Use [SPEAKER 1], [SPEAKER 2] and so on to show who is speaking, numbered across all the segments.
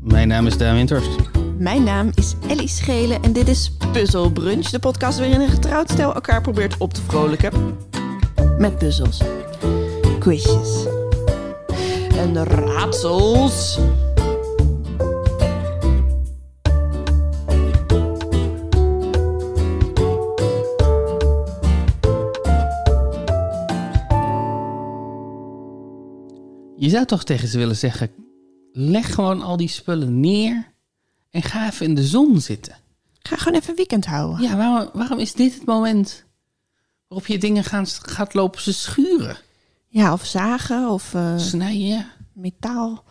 [SPEAKER 1] Mijn naam is Daan Winters.
[SPEAKER 2] Mijn naam is Ellie Schelen en dit is Puzzle Brunch, de podcast waarin een getrouwd stel elkaar probeert op te vrolijken. Met puzzels, quizjes en raadsels.
[SPEAKER 1] Je zou toch tegen ze willen zeggen: leg gewoon al die spullen neer en ga even in de zon zitten.
[SPEAKER 2] Ik ga gewoon even weekend houden.
[SPEAKER 1] Ja, waarom, waarom is dit het moment waarop je dingen gaan, gaat lopen ze schuren?
[SPEAKER 2] Ja, of zagen of eh,
[SPEAKER 1] Snijden,
[SPEAKER 2] metaal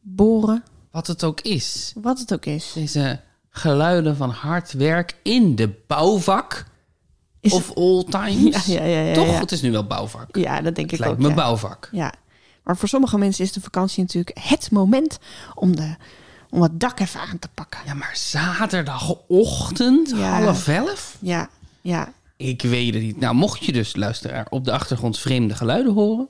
[SPEAKER 2] boren,
[SPEAKER 1] wat het ook is.
[SPEAKER 2] wat het ook is.
[SPEAKER 1] Deze geluiden van hard werk in de bouwvak
[SPEAKER 2] Is
[SPEAKER 1] of all times.
[SPEAKER 2] Ja, ja, ja, ja,
[SPEAKER 1] toch?
[SPEAKER 2] ja.
[SPEAKER 1] Het is nu wel bouwvak.
[SPEAKER 2] het- Ja, dat denk
[SPEAKER 1] Het
[SPEAKER 2] ik
[SPEAKER 1] lijkt
[SPEAKER 2] ook.
[SPEAKER 1] me
[SPEAKER 2] ja.
[SPEAKER 1] bouwvak.
[SPEAKER 2] Ja, maar voor sommige mensen is de vakantie natuurlijk het moment om, de, om het dak even aan te pakken.
[SPEAKER 1] Ja, maar zaterdagochtend,
[SPEAKER 2] Ja.
[SPEAKER 1] half elf?
[SPEAKER 2] Ja, ja.
[SPEAKER 1] Ik weet het niet. Nou, mocht je dus, luisteraar, op de achtergrond vreemde geluiden horen...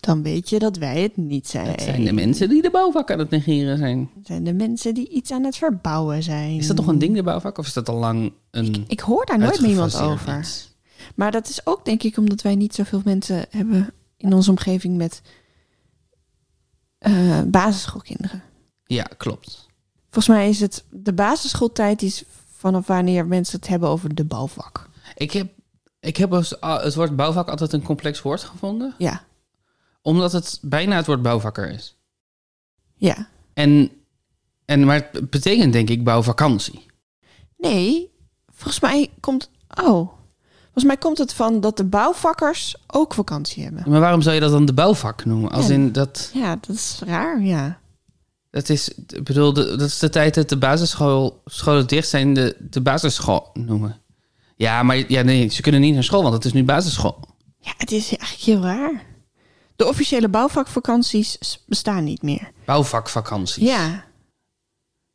[SPEAKER 2] Dan weet je dat wij het niet zijn.
[SPEAKER 1] dat zijn de mensen die de bouwvak aan het negeren zijn.
[SPEAKER 2] Het zijn de mensen die iets aan het verbouwen zijn.
[SPEAKER 1] Is dat nog een ding, de bouwvak? Of is dat al lang een
[SPEAKER 2] Mm. Ik hoor daar nooit meer iemand
[SPEAKER 1] uitgefaseerd
[SPEAKER 2] over.
[SPEAKER 1] iets?
[SPEAKER 2] Maar dat is ook denk ik omdat wij niet zoveel mensen hebben in onze omgeving met eh, basisschoolkinderen.
[SPEAKER 1] Ja, klopt.
[SPEAKER 2] Volgens mij is het de basisschooltijd die is vanaf wanneer mensen het hebben over de bouwvak.
[SPEAKER 1] Ik heb, ik heb als, ah, het woord bouwvak altijd een complex woord gevonden.
[SPEAKER 2] Ja,
[SPEAKER 1] Omdat het bijna het woord bouwvakker is.
[SPEAKER 2] ja.
[SPEAKER 1] En, en, maar het betekent denk ik bouwvakantie.
[SPEAKER 2] Nee, volgens mij komt. Oh. Volgens mij komt het van dat de bouwvakkers ook vakantie hebben.
[SPEAKER 1] Maar waarom zou je dat dan de bouwvak noemen? Als
[SPEAKER 2] Ja.
[SPEAKER 1] in dat...
[SPEAKER 2] Ja, dat is raar, ja.
[SPEAKER 1] Dat is, ik bedoel, de- dat is de tijd dat de basisschool, scholen dicht zijn, de, de basisschool noemen. Ja, maar ja, nee, ze kunnen niet naar school, want het is nu basisschool.
[SPEAKER 2] Ja, het is eigenlijk heel raar. De officiële bouwvakvakanties s- bestaan niet meer.
[SPEAKER 1] Bouwvakvakanties.
[SPEAKER 2] Ja.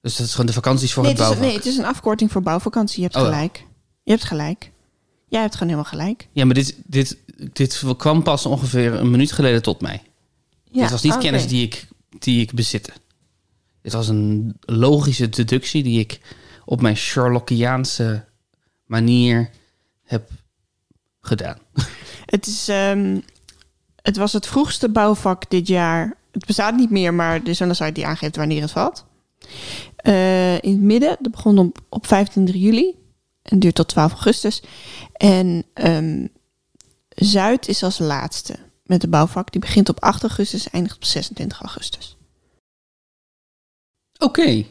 [SPEAKER 1] Dus dat is gewoon de vakanties voor
[SPEAKER 2] Nee het,
[SPEAKER 1] het
[SPEAKER 2] is,
[SPEAKER 1] bouwvak.
[SPEAKER 2] nee, het is een afkorting voor bouwvakantie. Je hebt
[SPEAKER 1] Oh, ja.
[SPEAKER 2] gelijk. Je hebt gelijk. Jij hebt gewoon helemaal gelijk.
[SPEAKER 1] Ja, maar dit, dit, dit kwam pas ongeveer een minuut geleden tot mij.
[SPEAKER 2] Ja, oh,
[SPEAKER 1] dit was niet
[SPEAKER 2] oké.
[SPEAKER 1] kennis die ik, die ik bezitte. Dit was een logische deductie die ik op mijn Sherlockiaanse manier heb gedaan.
[SPEAKER 2] Het, is, ehm, het was het vroegste bouwvak dit jaar. Het bestaat niet meer, maar er is een site die aangeeft wanneer het valt. Eh, in het midden, dat begon op, op 25 juli en duurt tot 12 augustus. En ehm, Zuid is als laatste met de bouwvak. Die begint op 8 augustus en eindigt op 26 augustus.
[SPEAKER 1] Oké.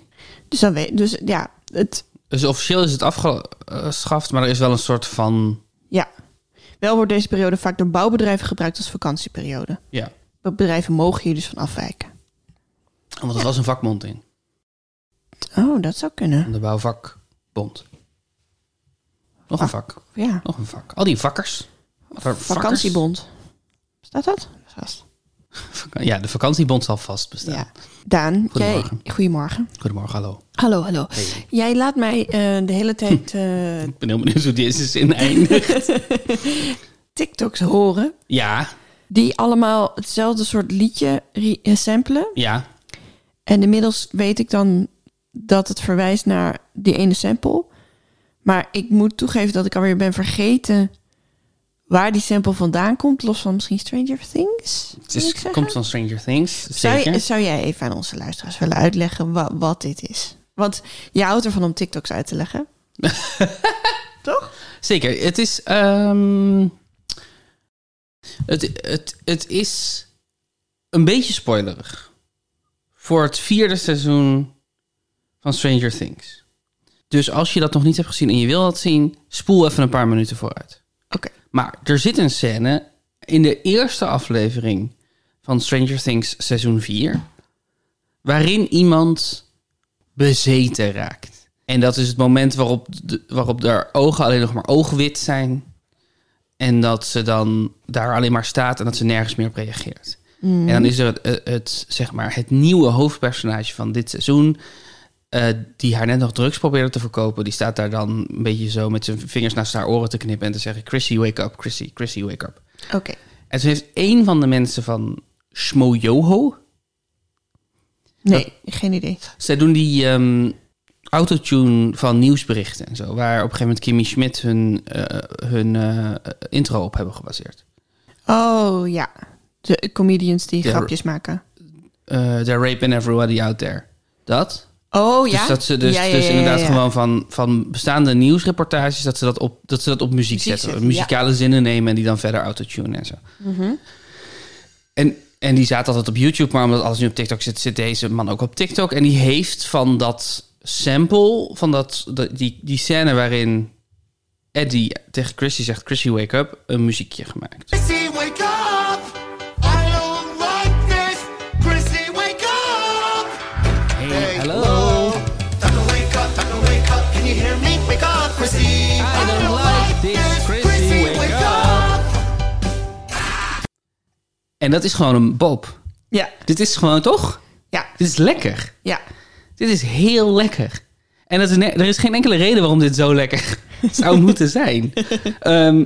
[SPEAKER 2] Dus, dan weet, dus ja, het,
[SPEAKER 1] Dus officieel is het afgeschaft, maar er is wel een soort van.
[SPEAKER 2] wel wordt deze periode vaak door bouwbedrijven gebruikt als vakantieperiode.
[SPEAKER 1] Ja.
[SPEAKER 2] Bedrijven mogen hier dus van afwijken.
[SPEAKER 1] Want het was een vakbond in.
[SPEAKER 2] Oh, dat zou kunnen.
[SPEAKER 1] De bouwvakbond. Nog een
[SPEAKER 2] Ah.
[SPEAKER 1] vak.
[SPEAKER 2] Ja.
[SPEAKER 1] Nog een vak. Al die vakkers. Va- vakkers.
[SPEAKER 2] Vakantiebond. Staat dat? Vast.
[SPEAKER 1] Vak- Ja, de vakantiebond zal vast bestaan.
[SPEAKER 2] Ja. Daan,
[SPEAKER 1] Goedemorgen.
[SPEAKER 2] Jij, goedemorgen.
[SPEAKER 1] Goedemorgen, hallo.
[SPEAKER 2] Hallo, hallo.
[SPEAKER 1] Hey.
[SPEAKER 2] Jij laat mij eh, de hele tijd eh,
[SPEAKER 1] Ik ben heel benieuwd hoe deze zin eindigt.
[SPEAKER 2] TikToks horen.
[SPEAKER 1] ja,
[SPEAKER 2] Die allemaal hetzelfde soort liedje re- eh, samplen.
[SPEAKER 1] ja.
[SPEAKER 2] En inmiddels weet ik dan dat het verwijst naar die ene sample. Maar ik moet toegeven dat ik alweer ben vergeten waar die sample vandaan komt. Los van misschien Stranger Things.
[SPEAKER 1] Het
[SPEAKER 2] wil
[SPEAKER 1] is-
[SPEAKER 2] ik zeggen.
[SPEAKER 1] komt van Stranger Things.
[SPEAKER 2] Zou,
[SPEAKER 1] Zeker.
[SPEAKER 2] je- zou jij even aan onze luisteraars willen uitleggen wa- wat dit is? Want je houdt ervan om TikToks uit te leggen. Toch?
[SPEAKER 1] Zeker. Het is. ehm, het, het, het is een beetje spoilerig. Voor het vierde seizoen van Stranger Things. Dus als je dat nog niet hebt gezien en je wil dat zien, spoel even een paar minuten vooruit.
[SPEAKER 2] Oké.
[SPEAKER 1] Maar er zit een scène in de eerste aflevering van Stranger Things seizoen 4. Waarin iemand bezeten raakt. En dat is het moment waarop, de- waarop haar ogen alleen nog maar oogwit zijn. En dat ze dan daar alleen maar staat en dat ze nergens meer op reageert. En dan is er het, het- het, zeg maar, het nieuwe hoofdpersonage van dit seizoen. eh, die haar net nog drugs probeerde te verkopen. Die staat daar dan een beetje zo met zijn vingers naast haar oren te knippen. En te zeggen: Chrissy, wake up, Chrissy, Chrissy, wake up.
[SPEAKER 2] Oké.
[SPEAKER 1] En toen heeft één van de mensen van Shmoyoho.
[SPEAKER 2] Nee, geen idee.
[SPEAKER 1] Zij doen die ehm, autotune van nieuwsberichten en zo. Waar op een gegeven moment Kimmy Schmidt hun, eh, hun eh, intro op hebben gebaseerd.
[SPEAKER 2] Oh ja, de comedians die
[SPEAKER 1] Ja.
[SPEAKER 2] grapjes maken.
[SPEAKER 1] Eh They're raping everybody out there. Dat.
[SPEAKER 2] Oh ja.
[SPEAKER 1] Dus dat ze dus,
[SPEAKER 2] Ja, ja,
[SPEAKER 1] dus
[SPEAKER 2] ja, ja,
[SPEAKER 1] inderdaad
[SPEAKER 2] ja.
[SPEAKER 1] gewoon van, van bestaande nieuwsreportages... dat ze dat op, dat ze dat op muziek, zetten.
[SPEAKER 2] zetten, Mhm.
[SPEAKER 1] Muzikale zinnen nemen en die dan verder autotune en zo. En, en die zaten altijd op YouTube, maar omdat alles nu op TikTok zit, zit deze man ook op TikTok. En die heeft van dat sample, van dat, dat- die, die scène waarin Eddie tegen Chrissy zegt: Chrissy, wake up, een muziekje gemaakt.
[SPEAKER 3] Chrissy, wake up! I don't like this. Chrissy, wake up! Hey,
[SPEAKER 1] hello.
[SPEAKER 3] Time to wake up, time to wake up. Can you hear me? Wake up, Chrissy!
[SPEAKER 1] I don't like this. Chrissy, wake En dat is gewoon een bob.
[SPEAKER 2] Ja,
[SPEAKER 1] Dit is gewoon toch?
[SPEAKER 2] ja,
[SPEAKER 1] Dit is lekker.
[SPEAKER 2] ja.
[SPEAKER 1] Dit is heel lekker. En dat is ne- er is geen enkele reden waarom dit zo lekker zou moeten zijn. Ehm,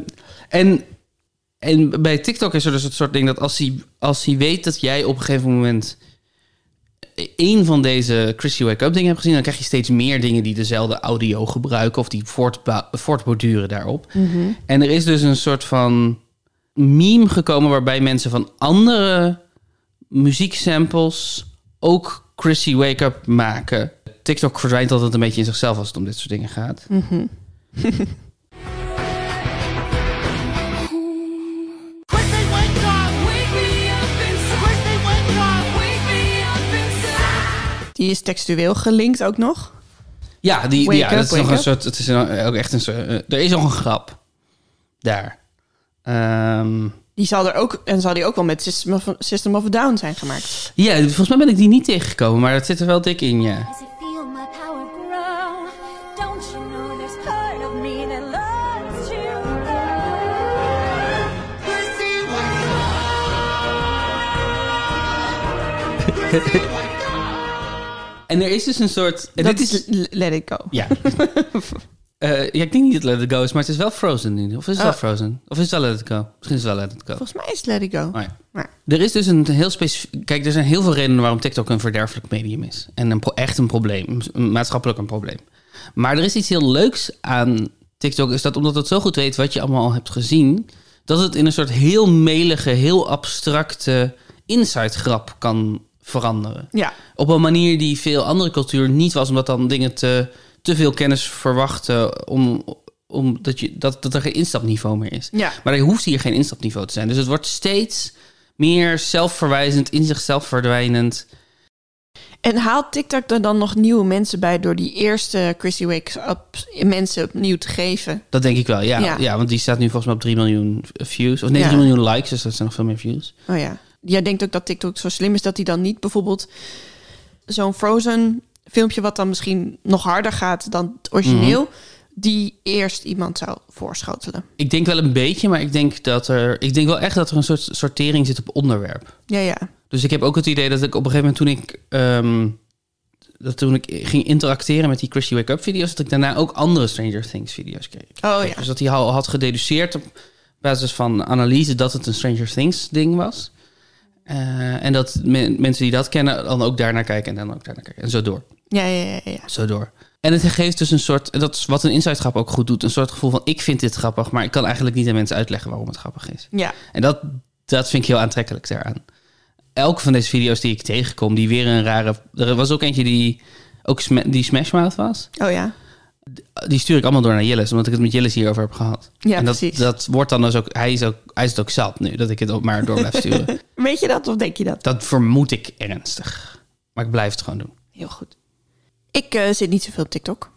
[SPEAKER 1] en, en bij TikTok is er dus het soort ding dat als hij, als hij weet dat jij op een gegeven moment één van deze Chrissy Wake Up dingen hebt gezien, dan krijg je steeds meer dingen die dezelfde audio gebruiken of die voortba- voortborduren daarop. En er is dus een soort van meme gekomen waarbij mensen van andere muzieksamples ook Chrissy Wake Up maken. TikTok verdwijnt altijd een beetje in zichzelf als het om dit soort dingen gaat.
[SPEAKER 2] Hm.
[SPEAKER 3] Chrissy, wake up! Wake me up inside! Chrissy, wake up! Wake me up inside!
[SPEAKER 2] Die is textueel gelinkt ook nog.
[SPEAKER 1] Ja, die,
[SPEAKER 2] Wake
[SPEAKER 1] ja
[SPEAKER 2] up,
[SPEAKER 1] dat is nog
[SPEAKER 2] wake
[SPEAKER 1] een
[SPEAKER 2] up.
[SPEAKER 1] soort. Het is een- ook echt een soort. eh, er is nog een grap. Daar. Ehm,
[SPEAKER 2] Die zal er ook, en zal die ook wel met System of, System of a Down zijn gemaakt.
[SPEAKER 1] ja, volgens mij ben ik die niet tegengekomen, maar dat zit er wel dik in, ja.
[SPEAKER 4] As I feel my power grow, don't you know there's part of me that loves to go?
[SPEAKER 3] Chrissy, wake up! Chrissy, wake up!
[SPEAKER 1] En er is dus een soort. En
[SPEAKER 2] dat
[SPEAKER 1] dit is.
[SPEAKER 2] is L- Let It Go.
[SPEAKER 1] Ja. Eh, ja, ik denk niet dat Let It Go is, maar het is wel Frozen nu. Of is het wel
[SPEAKER 2] Oh.
[SPEAKER 1] Frozen? Of is het wel Let It Go? Misschien is het wel Let It Go.
[SPEAKER 2] Volgens mij is Let It Go.
[SPEAKER 1] Oh ja.
[SPEAKER 2] Maar,
[SPEAKER 1] Er is dus een heel specifiek. Kijk, er zijn heel veel redenen waarom TikTok een verderfelijk medium is. En een pro- echt een probleem. Een maatschappelijk een probleem. Maar er is iets heel leuks aan TikTok. Is dat omdat het zo goed weet wat je allemaal al hebt gezien. Dat het in een soort heel melige, heel abstracte inside grap kan veranderen.
[SPEAKER 2] ja,
[SPEAKER 1] Op een manier die veel andere culturen niet was. Omdat dan dingen te, te veel kennis verwachten. Om, om dat, je, dat, dat er geen instapniveau meer is.
[SPEAKER 2] Ja.
[SPEAKER 1] Maar er hoeft hier geen instapniveau te zijn. Dus het wordt steeds meer zelfverwijzend, in zichzelf verdwijnend.
[SPEAKER 2] En haalt TikTok er dan nog nieuwe mensen bij door die eerste Chrissy Wakes Up mensen opnieuw te geven?
[SPEAKER 1] Dat denk ik wel, ja. ja.
[SPEAKER 2] Ja.
[SPEAKER 1] want die staat nu volgens mij op 3 miljoen views. Of nee,
[SPEAKER 2] Ja.
[SPEAKER 1] 3 miljoen likes, dus dat zijn nog veel meer views.
[SPEAKER 2] Oh ja. Jij denkt ook dat TikTok zo slim is dat hij dan niet bijvoorbeeld zo'n Frozen filmpje, wat dan misschien nog harder gaat dan het origineel, die eerst iemand zou voorschotelen.
[SPEAKER 1] Ik denk wel een beetje, maar ik denk, dat er, ik denk wel echt dat er een soort sortering zit op onderwerp.
[SPEAKER 2] Ja, ja.
[SPEAKER 1] Dus ik heb ook het idee dat ik op een gegeven moment toen ik, ehm, dat toen ik ging interacteren met die Christy Wake Up video's, dat ik daarna ook andere Stranger Things video's kreeg.
[SPEAKER 2] Oh ja.
[SPEAKER 1] Dus dat hij al had gededuceerd op basis van analyse dat het een Stranger Things ding was. Eh, en dat men- mensen die dat kennen dan ook daarnaar kijken en dan ook daarnaar kijken. En zo door,
[SPEAKER 2] Ja, ja, ja, ja.
[SPEAKER 1] zo door. En het geeft dus een soort, en dat is wat een inside grap ook goed doet, een soort gevoel van ik vind dit grappig, maar ik kan eigenlijk niet aan mensen uitleggen waarom het grappig is.
[SPEAKER 2] Ja,
[SPEAKER 1] En dat, dat vind ik heel aantrekkelijk daaraan. Elke van deze video's die ik tegenkom, die weer een rare... Er was ook eentje die ook sma- die Smash Mouth was.
[SPEAKER 2] oh ja.
[SPEAKER 1] Die stuur ik allemaal door naar Jillis, omdat ik het met Jillis hierover heb gehad.
[SPEAKER 2] Ja,
[SPEAKER 1] en dat,
[SPEAKER 2] precies.
[SPEAKER 1] dat wordt dan dus ook hij, is ook... hij is het ook zat nu, dat ik het ook maar door blijf sturen.
[SPEAKER 2] Weet je dat of denk je dat?
[SPEAKER 1] dat vermoed ik ernstig. Maar ik blijf het gewoon doen.
[SPEAKER 2] Heel goed. Ik eh, zit niet zoveel op TikTok,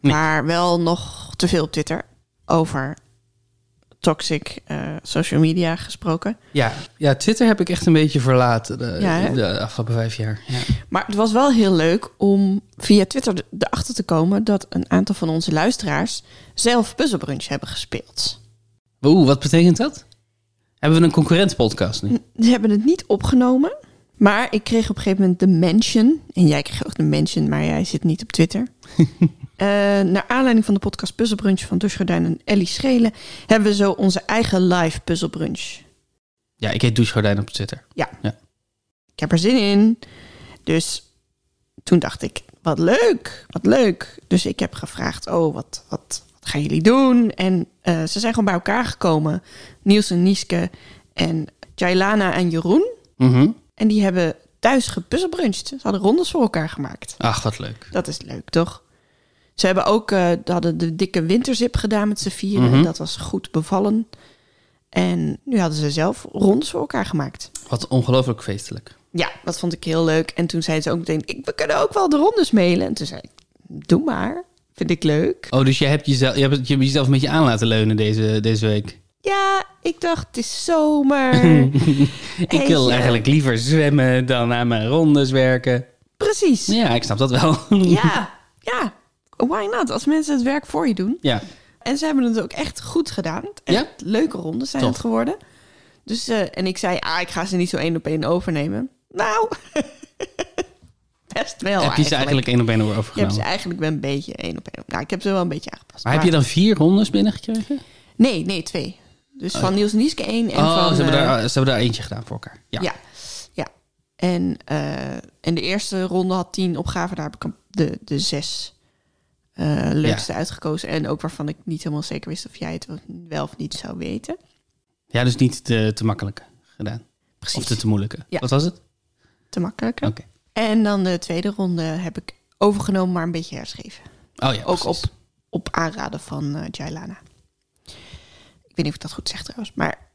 [SPEAKER 1] Nee.
[SPEAKER 2] maar wel nog te veel op Twitter over toxic eh, social media gesproken.
[SPEAKER 1] Ja, ja, Twitter heb ik echt een beetje verlaten de,
[SPEAKER 2] Ja, hè?
[SPEAKER 1] de afgelopen vijf jaar. Ja.
[SPEAKER 2] Maar het was wel heel leuk om via Twitter d- erachter te komen dat een aantal van onze luisteraars zelf puzzelbrunch hebben gespeeld.
[SPEAKER 1] Oeh, wat betekent dat? Hebben we een concurrent podcast nu?
[SPEAKER 2] Ze hebben het niet opgenomen, maar ik kreeg op een gegeven moment de mention. En jij kreeg ook de mention, maar jij zit niet op Twitter. Eh, naar aanleiding van de podcast Puzzelbrunch van Dusgordijn en Ellie Schelen hebben we zo onze eigen live puzzelbrunch.
[SPEAKER 1] Ja, ik heet Douchegordijn op Twitter.
[SPEAKER 2] Ja.
[SPEAKER 1] Ja.
[SPEAKER 2] Ik heb er zin in. Dus toen dacht ik, wat leuk, wat leuk. Dus ik heb gevraagd, oh, wat, wat, wat gaan jullie doen? En eh, ze zijn gewoon bij elkaar gekomen. Niels en Nieske en Jailana en Jeroen.
[SPEAKER 1] Mhm.
[SPEAKER 2] En die hebben thuis gepuzzelbruncht. Ze hadden rondes voor elkaar gemaakt.
[SPEAKER 1] Ach, wat leuk.
[SPEAKER 2] Dat is leuk, toch? Ze hebben ook eh, ze hadden de dikke winterzip gedaan met z'n vieren.
[SPEAKER 1] Mhm.
[SPEAKER 2] Dat was goed bevallen. En nu hadden ze zelf rondes voor elkaar gemaakt.
[SPEAKER 1] Wat ongelooflijk feestelijk.
[SPEAKER 2] Ja, dat vond ik heel leuk. En toen zei ze ook meteen, ik, we kunnen ook wel de rondes mailen. En toen zei ik, doe maar. Vind ik leuk.
[SPEAKER 1] Oh, dus jij hebt jezelf, je hebt, je hebt jezelf een beetje aan laten leunen deze, deze week.
[SPEAKER 2] Ja, ik dacht, het is zomer.
[SPEAKER 1] Ik wil eigenlijk liever zwemmen dan aan mijn rondes werken.
[SPEAKER 2] Precies. Ja.
[SPEAKER 1] Ja, ik snap dat wel.
[SPEAKER 2] ja, Why not? Als mensen het werk voor je doen.
[SPEAKER 1] Ja.
[SPEAKER 2] En ze hebben het ook echt goed gedaan. Echt
[SPEAKER 1] Ja?
[SPEAKER 2] leuke rondes zijn
[SPEAKER 1] Top.
[SPEAKER 2] het geworden. Dus, eh, en ik zei, ah, ik ga ze niet zo één op één overnemen. Nou, best wel
[SPEAKER 1] heb je ze eigenlijk één op één
[SPEAKER 2] Je hebt
[SPEAKER 1] overgenomen?
[SPEAKER 2] ze eigenlijk wel een beetje één op één. Nou, ik heb ze wel een beetje aangepast.
[SPEAKER 1] maar heb je dan vier rondes binnengekregen?
[SPEAKER 2] Nee, nee, twee. Dus van Niels Nieske één en
[SPEAKER 1] Oh,
[SPEAKER 2] van...
[SPEAKER 1] ze, hebben
[SPEAKER 2] eh,
[SPEAKER 1] daar, ze hebben daar eentje gedaan voor elkaar. Ja.
[SPEAKER 2] ja. ja, En, eh, en de eerste ronde had tien opgaven. Daar heb ik hem- de, de zes eh, leukste uitgekozen. En ook waarvan ik niet helemaal zeker wist of jij het wel of niet zou weten.
[SPEAKER 1] Ja, dus niet te, te makkelijk gedaan.
[SPEAKER 2] Precies.
[SPEAKER 1] Of te, te moeilijke.
[SPEAKER 2] Ja.
[SPEAKER 1] Wat was het? Oké.
[SPEAKER 2] Te makkelijker. En dan de tweede ronde heb ik overgenomen, maar een beetje herschreven.
[SPEAKER 1] Oh ja,
[SPEAKER 2] Ook op,
[SPEAKER 1] precies.
[SPEAKER 2] op aanraden van eh Jailana. Ik weet niet of ik dat goed zeg trouwens, maar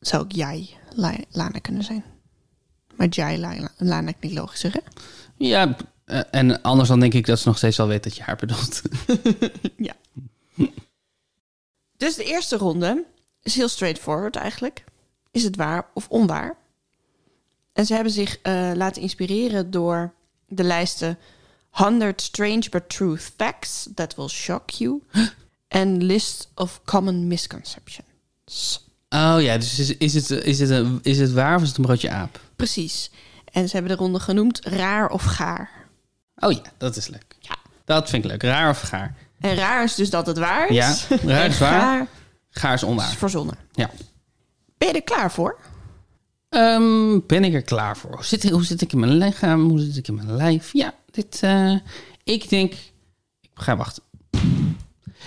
[SPEAKER 2] zou ook jij Lai- Lana kunnen zijn? Maar Jailana Lana klinkt logischer, hè?
[SPEAKER 1] Ja, eh, en anders dan denk ik dat ze nog steeds wel weet dat je haar bedoelt.
[SPEAKER 2] Ja. dus de eerste ronde is heel straightforward eigenlijk. Is het waar of onwaar? En ze hebben zich eh, laten inspireren door de lijsten 100 Strange but True Facts That Will Shock You en List of Common Misconceptions.
[SPEAKER 1] Oh ja, dus is, is, het, is, het een, is het waar of is het een broodje aap?
[SPEAKER 2] Precies. En ze hebben de ronde genoemd raar of gaar.
[SPEAKER 1] Oh ja, dat is leuk.
[SPEAKER 2] Ja.
[SPEAKER 1] Dat vind ik leuk. Raar of gaar?
[SPEAKER 2] En raar is dus dat het waar is.
[SPEAKER 1] Ja, raar
[SPEAKER 2] En
[SPEAKER 1] is waar.
[SPEAKER 2] gaar
[SPEAKER 1] Gaar is
[SPEAKER 2] is
[SPEAKER 1] onwaar.
[SPEAKER 2] verzonnen.
[SPEAKER 1] Ja.
[SPEAKER 2] Ben je er klaar voor?
[SPEAKER 1] Ehm, ben ik er klaar voor? Hoe zit, hoe zit ik in mijn lichaam? Hoe zit ik in mijn lijf? Ja, dit. eh, ik denk. Ik ga wachten.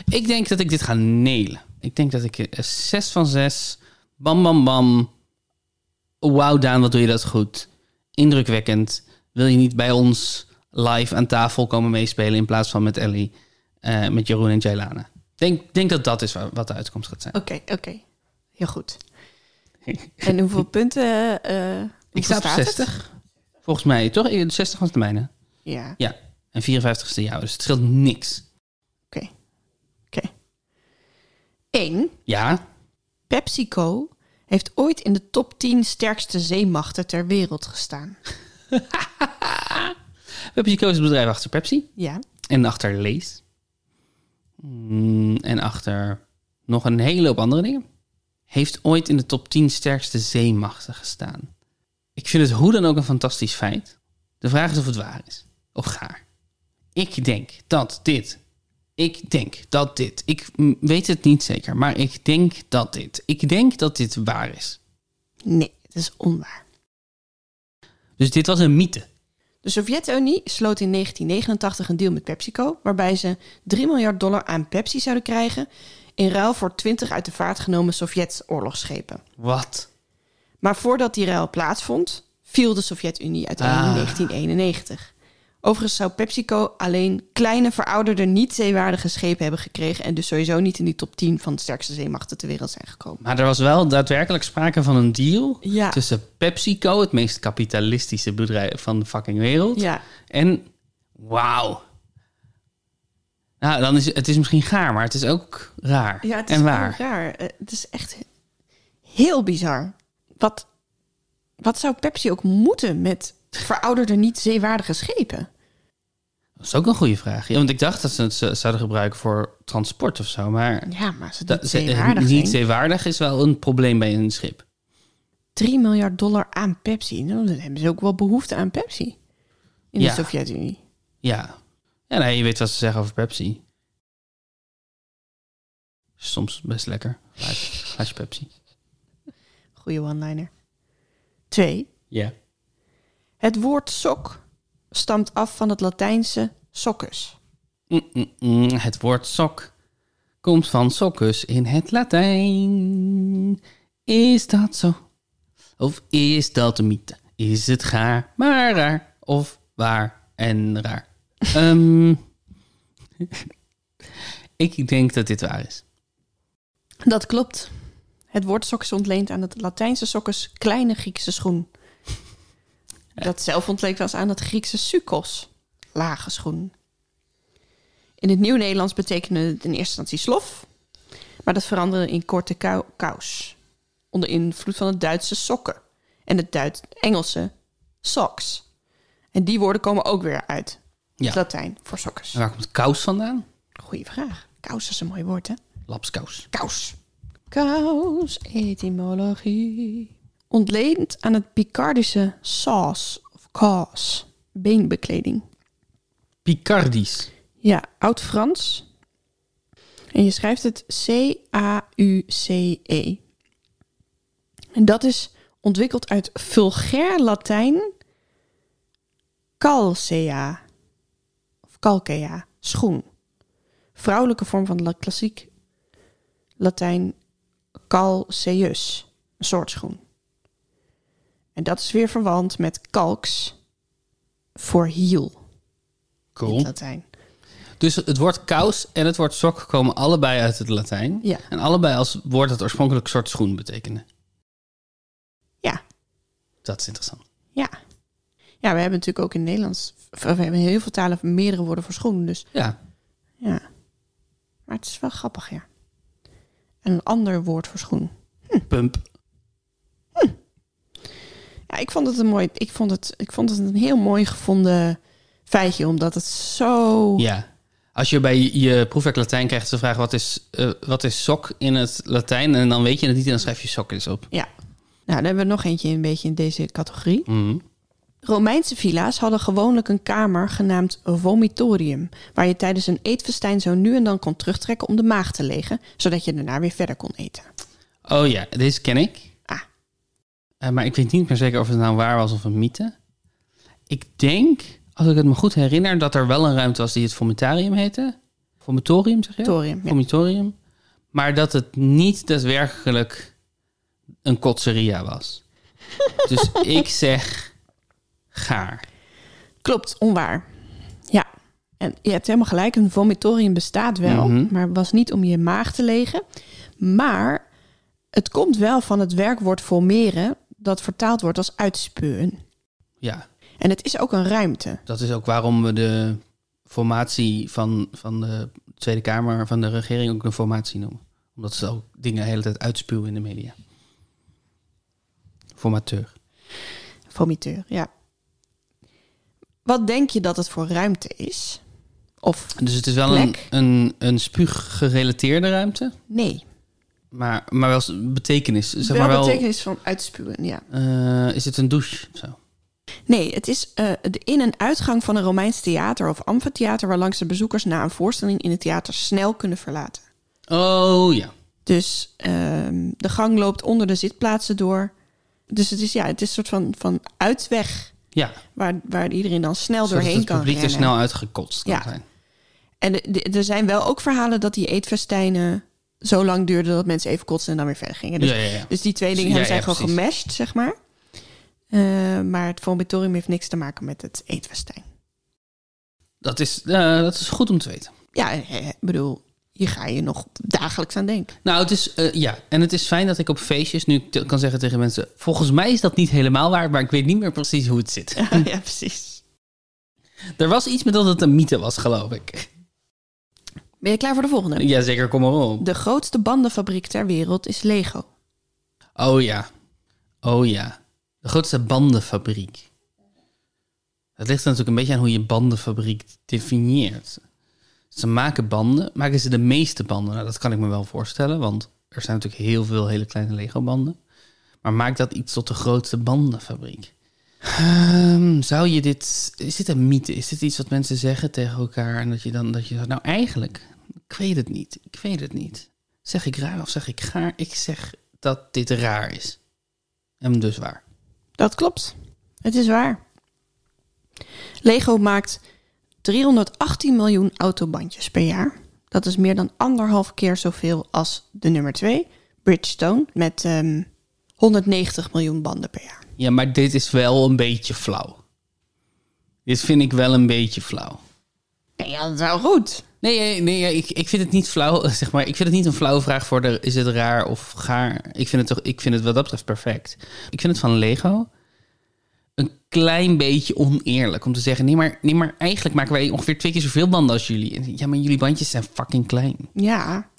[SPEAKER 1] Ik denk dat ik dit ga nelen. Ik denk dat ik eh, zes van zes. Bam, bam, bam. Wauw, Daan, wat doe je dat goed? Indrukwekkend. Wil je niet bij ons live aan tafel komen meespelen in plaats van met Ellie, eh, met Jeroen en Jailana? Denk, denk dat dat is wa- wat de uitkomst gaat zijn.
[SPEAKER 2] Oké, oké. Heel goed. En hoeveel punten? eh
[SPEAKER 1] ik
[SPEAKER 2] hoeveel
[SPEAKER 1] sta op
[SPEAKER 2] het?
[SPEAKER 1] 60. Volgens mij, toch? Eh, 60 was de mijne.
[SPEAKER 2] Ja,
[SPEAKER 1] Ja, en 54 is de jouw, dus het scheelt niks.
[SPEAKER 2] oké. Oké. Eén.
[SPEAKER 1] Ja,
[SPEAKER 2] PepsiCo heeft ooit in de top 10 sterkste zeemachten ter wereld gestaan.
[SPEAKER 1] PepsiCo is het bedrijf achter Pepsi
[SPEAKER 2] Ja.
[SPEAKER 1] en achter Lees. Mm, en achter nog een hele hoop andere dingen. Heeft ooit in de top 10 sterkste zeemachten gestaan. Ik vind het hoe dan ook een fantastisch feit. De vraag is of het waar is. Of gaar. Ik denk dat dit. Ik denk dat dit. Ik mm, weet het niet zeker, maar ik denk dat dit. Ik denk dat dit waar is.
[SPEAKER 2] Nee, het is onwaar.
[SPEAKER 1] Dus dit was een mythe.
[SPEAKER 2] De Sovjet-Unie sloot in 1989 een deal met PepsiCo, waarbij ze 3 miljard dollar aan Pepsi zouden krijgen in ruil voor 20 uit de vaart genomen Sovjet-oorlogsschepen.
[SPEAKER 1] Wat?
[SPEAKER 2] Maar voordat die ruil plaatsvond, viel de Sovjet-Unie uiteindelijk in
[SPEAKER 1] Ah.
[SPEAKER 2] 1991. Overigens zou PepsiCo alleen kleine, verouderde, niet zeewaardige schepen hebben gekregen en dus sowieso niet in die top 10 van de sterkste zeemachten ter wereld zijn gekomen.
[SPEAKER 1] Maar er was wel daadwerkelijk sprake van een deal
[SPEAKER 2] Ja.
[SPEAKER 1] tussen PepsiCo, het meest kapitalistische bedrijf van de fucking wereld,
[SPEAKER 2] Ja.
[SPEAKER 1] en wauw. Nou, dan is het is misschien gaar, maar het is ook raar
[SPEAKER 2] Ja, het is
[SPEAKER 1] en waar.
[SPEAKER 2] gewoon raar. Eh, Het is echt heel bizar. Wat, wat zou Pepsi ook moeten met verouderde, niet zeewaardige schepen?
[SPEAKER 1] Dat is ook een goede vraag. Ja, want ik dacht dat ze het z- zouden gebruiken voor transport of zo, maar
[SPEAKER 2] Ja, maar ze
[SPEAKER 1] dat,
[SPEAKER 2] niet
[SPEAKER 1] ze- eh,
[SPEAKER 2] zeewaardig
[SPEAKER 1] niet
[SPEAKER 2] zijn.
[SPEAKER 1] zeewaardig is wel een probleem bij een schip.
[SPEAKER 2] 3 miljard dollar aan Pepsi. Nou, dan hebben ze ook wel behoefte aan Pepsi. In
[SPEAKER 1] Ja.
[SPEAKER 2] de Sovjet-Unie.
[SPEAKER 1] Ja. Ja, nee, je weet wat ze zeggen over Pepsi. Soms best lekker. Glaasje, glaasje Pepsi.
[SPEAKER 2] Goeie one-liner. Twee.
[SPEAKER 1] Ja.
[SPEAKER 2] Het woord sok stamt af van het Latijnse soccus.
[SPEAKER 1] Mm, mm, mm. Het woord sok komt van soccus in het Latijn. Is dat zo? Of is dat een mythe? Is het gaar, maar raar? Of waar en raar? Ehm, ik denk dat dit waar is.
[SPEAKER 2] Dat klopt. Het woord sokkes ontleent aan het Latijnse sokkes, kleine Griekse schoen. Dat zelf ontleent was aan het Griekse sukos, lage schoen. In het Nieuw-Nederlands betekende het in eerste instantie slof, maar dat veranderde in korte kou- kous. Onder invloed van het Duitse sokken en het Duits Engelse socks. En die woorden komen ook weer uit
[SPEAKER 1] Ja.
[SPEAKER 2] het Latijn voor sokkes.
[SPEAKER 1] En waar komt kous vandaan?
[SPEAKER 2] Goeie vraag. Kous is een mooi woord, hè?
[SPEAKER 1] Lapskous.
[SPEAKER 2] Kous. Kous, etymologie. Ontleend aan het Picardische saus of kaas, beenbekleding.
[SPEAKER 1] Picardisch.
[SPEAKER 2] Ja, oud-Frans. En je schrijft het C-A-U-C-E. E. En dat is ontwikkeld uit vulgair Latijn calcea. Of calcea, schoen. Vrouwelijke vorm van la- klassiek Latijn calceus, een soort schoen. En dat is weer verwant met calx voor hiel in het
[SPEAKER 1] Cool.
[SPEAKER 2] Latijn.
[SPEAKER 1] Dus het woord kous en het woord sok komen allebei uit het Latijn.
[SPEAKER 2] Ja.
[SPEAKER 1] En allebei als woord dat oorspronkelijk soort schoen betekende.
[SPEAKER 2] Ja,
[SPEAKER 1] Dat is interessant.
[SPEAKER 2] Ja. Ja, we hebben natuurlijk ook in het Nederlands... of We hebben in heel veel talen meerdere woorden voor schoen, dus
[SPEAKER 1] Ja,
[SPEAKER 2] ja. Maar het is wel grappig, ja. En een ander woord voor schoen.
[SPEAKER 1] pump.
[SPEAKER 2] Ja, ik vond het een mooi... Ik vond het, ik vond het een heel mooi gevonden feitje, omdat het zo...
[SPEAKER 1] Ja. Als je bij je, je proefwerk Latijn krijgt de vraag wat is, eh, wat is sok in het Latijn en dan weet je het niet en dan schrijf je sok eens op.
[SPEAKER 2] Ja. Nou, dan hebben we nog eentje een beetje in deze categorie.
[SPEAKER 1] Mhm.
[SPEAKER 2] Romeinse villa's hadden gewoonlijk een kamer genaamd vomitorium, waar je tijdens een eetfestijn zo nu en dan kon terugtrekken om de maag te legen, zodat je daarna weer verder kon eten.
[SPEAKER 1] Oh ja, deze ken ik.
[SPEAKER 2] Ah,
[SPEAKER 1] Eh, maar ik weet niet meer zeker of het nou waar was of een mythe. Ik denk, als ik het me goed herinner, dat er wel een ruimte was die het vomitarium heette. Vomitorium zeg je?
[SPEAKER 2] Torium, ja.
[SPEAKER 1] Vomitorium. Maar dat het niet daadwerkelijk een kotseria was. dus ik zeg gaar.
[SPEAKER 2] Klopt, onwaar. Ja. En je hebt helemaal gelijk, een vomitorium bestaat wel,
[SPEAKER 1] Mhm.
[SPEAKER 2] maar het was niet om je maag te legen. Maar het komt wel van het werkwoord formeren, dat vertaald wordt als uitspuwen.
[SPEAKER 1] Ja,
[SPEAKER 2] En het is ook een ruimte.
[SPEAKER 1] dat is ook waarom we de formatie van, van de Tweede Kamer, van de regering, ook een formatie noemen. Omdat ze ook dingen de hele tijd uitspuwen in de media. Formateur.
[SPEAKER 2] Vomiteur, ja. Wat denk je dat het voor ruimte is? Of
[SPEAKER 1] Dus het is wel een,
[SPEAKER 2] Plek?
[SPEAKER 1] een, een spuuggerelateerde ruimte,
[SPEAKER 2] nee.
[SPEAKER 1] maar, maar wel s- betekenis. Zeg
[SPEAKER 2] wel
[SPEAKER 1] maar wel,
[SPEAKER 2] betekenis van uitspuwen, ja.
[SPEAKER 1] eh, is het een douche of zo?
[SPEAKER 2] Nee, het is eh, de in- en uitgang van een Romeins theater of amfitheater... waarlangs de bezoekers na een voorstelling in het theater snel kunnen verlaten.
[SPEAKER 1] Oh ja.
[SPEAKER 2] Dus ehm, de gang loopt onder de zitplaatsen door. Dus het is, ja, het is een soort van, van uitweg
[SPEAKER 1] Ja,
[SPEAKER 2] waar, waar iedereen dan snel
[SPEAKER 1] zodat
[SPEAKER 2] doorheen
[SPEAKER 1] het
[SPEAKER 2] kan
[SPEAKER 1] publiek
[SPEAKER 2] rennen.
[SPEAKER 1] er snel uitgekotst kan
[SPEAKER 2] Ja.
[SPEAKER 1] zijn.
[SPEAKER 2] En de- de- er zijn wel ook verhalen dat die eetfestijnen zo lang duurden... dat mensen even kotsen en dan weer verder gingen. Dus,
[SPEAKER 1] Ja, ja, ja.
[SPEAKER 2] dus die twee dingen
[SPEAKER 1] Ja, ja,
[SPEAKER 2] zijn gewoon
[SPEAKER 1] precies.
[SPEAKER 2] gemeshed, zeg maar. Eh, maar het vomitorium heeft niks te maken met het eetfestijn.
[SPEAKER 1] Dat is, eh, dat is goed om te weten.
[SPEAKER 2] Ja, eh, eh, ik bedoel, hier ga je nog dagelijks aan denken.
[SPEAKER 1] Nou, het is, eh, ja, en het is fijn dat ik op feestjes nu te- kan zeggen tegen mensen... volgens mij is dat niet helemaal waar, maar ik weet niet meer precies hoe het zit.
[SPEAKER 2] ja, precies.
[SPEAKER 1] Er was iets met dat het een mythe was, geloof ik.
[SPEAKER 2] Ben je klaar voor de volgende?
[SPEAKER 1] Jazeker, kom maar op.
[SPEAKER 2] De grootste bandenfabriek ter wereld is Lego.
[SPEAKER 1] Oh ja. Oh ja. De grootste bandenfabriek. Het ligt er natuurlijk een beetje aan hoe je bandenfabriek definieert. Ze maken banden. Maken ze de meeste banden? Nou, dat kan ik me wel voorstellen, want er zijn natuurlijk heel veel hele kleine Lego-banden. Maar maakt dat iets tot de grootste bandenfabriek? Ehm, zou je dit. Is dit een mythe? Is dit iets wat mensen zeggen tegen elkaar? En dat je dan. Dat je, zegt, nou, eigenlijk. Ik weet het niet. Ik weet het niet. Zeg ik raar of zeg ik gaar? Ik zeg dat dit raar is. En dus waar.
[SPEAKER 2] Dat klopt. Het is waar. Lego maakt 318 miljoen autobandjes per jaar. Dat is meer dan anderhalf keer zoveel als de nummer 2, Bridgestone, met ehm, 190 miljoen banden per jaar.
[SPEAKER 1] Ja, maar dit is wel een beetje flauw. Dit vind ik wel een beetje flauw.
[SPEAKER 2] Nee, ja, dat is wel goed.
[SPEAKER 1] Nee, nee, nee ja, ik, ik vind het niet flauw, zeg maar. Ik vind het niet een flauwe vraag voor de, is het raar of gaar. Ik vind het toch, ik vind het wat dat betreft perfect. Ik vind het van Lego een klein beetje oneerlijk om te zeggen, nee, maar, nee, maar eigenlijk maken wij ongeveer twee keer zoveel banden als jullie. En Ja, maar jullie bandjes zijn fucking klein.
[SPEAKER 2] Ja.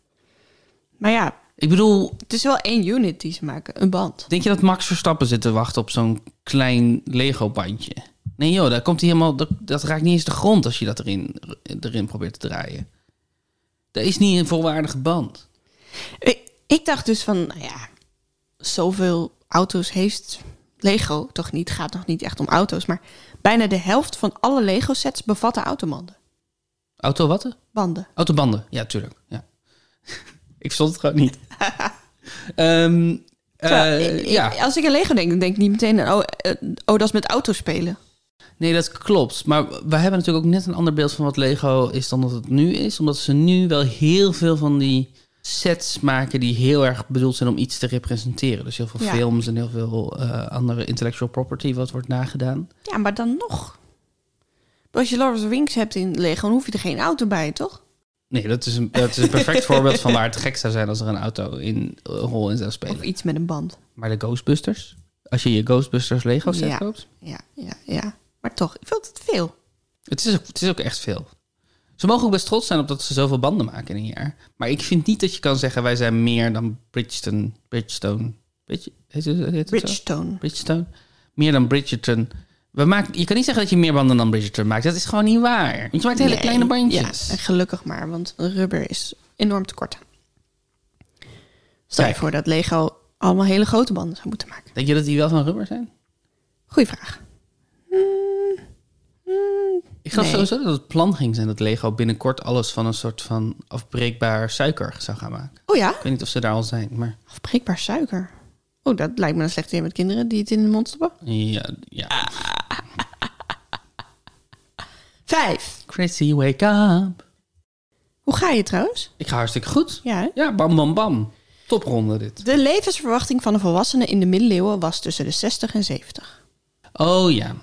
[SPEAKER 2] Maar ja,
[SPEAKER 1] Ik bedoel,
[SPEAKER 2] het is wel één unit die ze maken, een band.
[SPEAKER 1] denk je dat Max Verstappen zit te wachten op zo'n klein Lego bandje? Nee joh, daar komt hij helemaal, dat, dat raakt niet eens de grond als je dat erin, erin probeert te draaien. Dat is niet een volwaardige band.
[SPEAKER 2] Ik, ik dacht dus van, nou ja, zoveel auto's heeft Lego toch niet. Gaat nog niet echt om auto's, maar bijna de helft van alle Lego sets bevatten autobanden.
[SPEAKER 1] Auto wat?
[SPEAKER 2] Banden.
[SPEAKER 1] Autobanden, ja, tuurlijk. Ja. ik verstond het gewoon niet. Ehm, eh,
[SPEAKER 2] Ik- ik-
[SPEAKER 1] ja,
[SPEAKER 2] Als ik aan Lego denk, dan denk ik niet meteen aan, oh, eh, oh dat is met auto's spelen.
[SPEAKER 1] nee, dat klopt. Maar we hebben natuurlijk ook net een ander beeld van wat Lego is dan dat het nu is. Omdat ze nu wel heel veel van die sets maken die heel erg bedoeld zijn om iets te representeren. Dus heel veel
[SPEAKER 2] Ja.
[SPEAKER 1] films en heel veel eh, andere intellectual property wat wordt nagedaan.
[SPEAKER 2] Ja, maar dan nog. Als je Lord of the Rings hebt in Lego, dan hoef je er geen auto bij, toch?
[SPEAKER 1] Nee, dat is een, dat is een perfect voorbeeld van waar het gek zou zijn als er een auto in, eh, een rol in zou
[SPEAKER 2] Of
[SPEAKER 1] spelen.
[SPEAKER 2] iets met een band.
[SPEAKER 1] Maar de Ghostbusters, als je je Ghostbusters Lego set
[SPEAKER 2] Ja.
[SPEAKER 1] koopt,
[SPEAKER 2] Ja, ja, ja. Maar toch, ik vind het veel.
[SPEAKER 1] Het is, ook, het is ook echt veel. Ze mogen ook best trots zijn op dat ze zoveel banden maken in een jaar. Maar ik vind niet dat je kan zeggen... wij zijn meer dan Bridgestone... Bridgestone... Bridge, heet het, heet het zo?
[SPEAKER 2] Bridgestone.
[SPEAKER 1] Bridgestone? Meer dan Bridgerton. We maken, je kan niet zeggen dat je meer banden dan Bridgerton maakt. Dat is gewoon niet waar. Want je maakt hele
[SPEAKER 2] Nee,
[SPEAKER 1] kleine bandjes.
[SPEAKER 2] Ja, en gelukkig maar, want rubber is enorm tekort. aan. Stel je
[SPEAKER 1] Kijk.
[SPEAKER 2] voor dat Lego allemaal hele grote banden zou moeten maken.
[SPEAKER 1] Denk je dat die wel van rubber zijn?
[SPEAKER 2] Goeie vraag.
[SPEAKER 1] Ik geloof
[SPEAKER 2] Nee.
[SPEAKER 1] sowieso dat het plan ging zijn dat Lego binnenkort alles van een soort van afbreekbaar suiker zou gaan maken.
[SPEAKER 2] Oh ja,
[SPEAKER 1] Ik weet niet of ze daar al zijn, maar
[SPEAKER 2] afbreekbaar suiker. Oh, dat lijkt me een slecht idee met kinderen die het in de mond stoppen.
[SPEAKER 1] ja.
[SPEAKER 2] Ah.
[SPEAKER 1] ja.
[SPEAKER 2] Vijf.
[SPEAKER 1] Chrissy, wake up.
[SPEAKER 2] Hoe ga je trouwens?
[SPEAKER 1] Ik ga hartstikke goed.
[SPEAKER 2] Ja, hè?
[SPEAKER 1] Ja, bam, bam, bam. Topronde dit.
[SPEAKER 2] De levensverwachting van een volwassene in de middeleeuwen was tussen de 60 en 70.
[SPEAKER 1] Oh ja.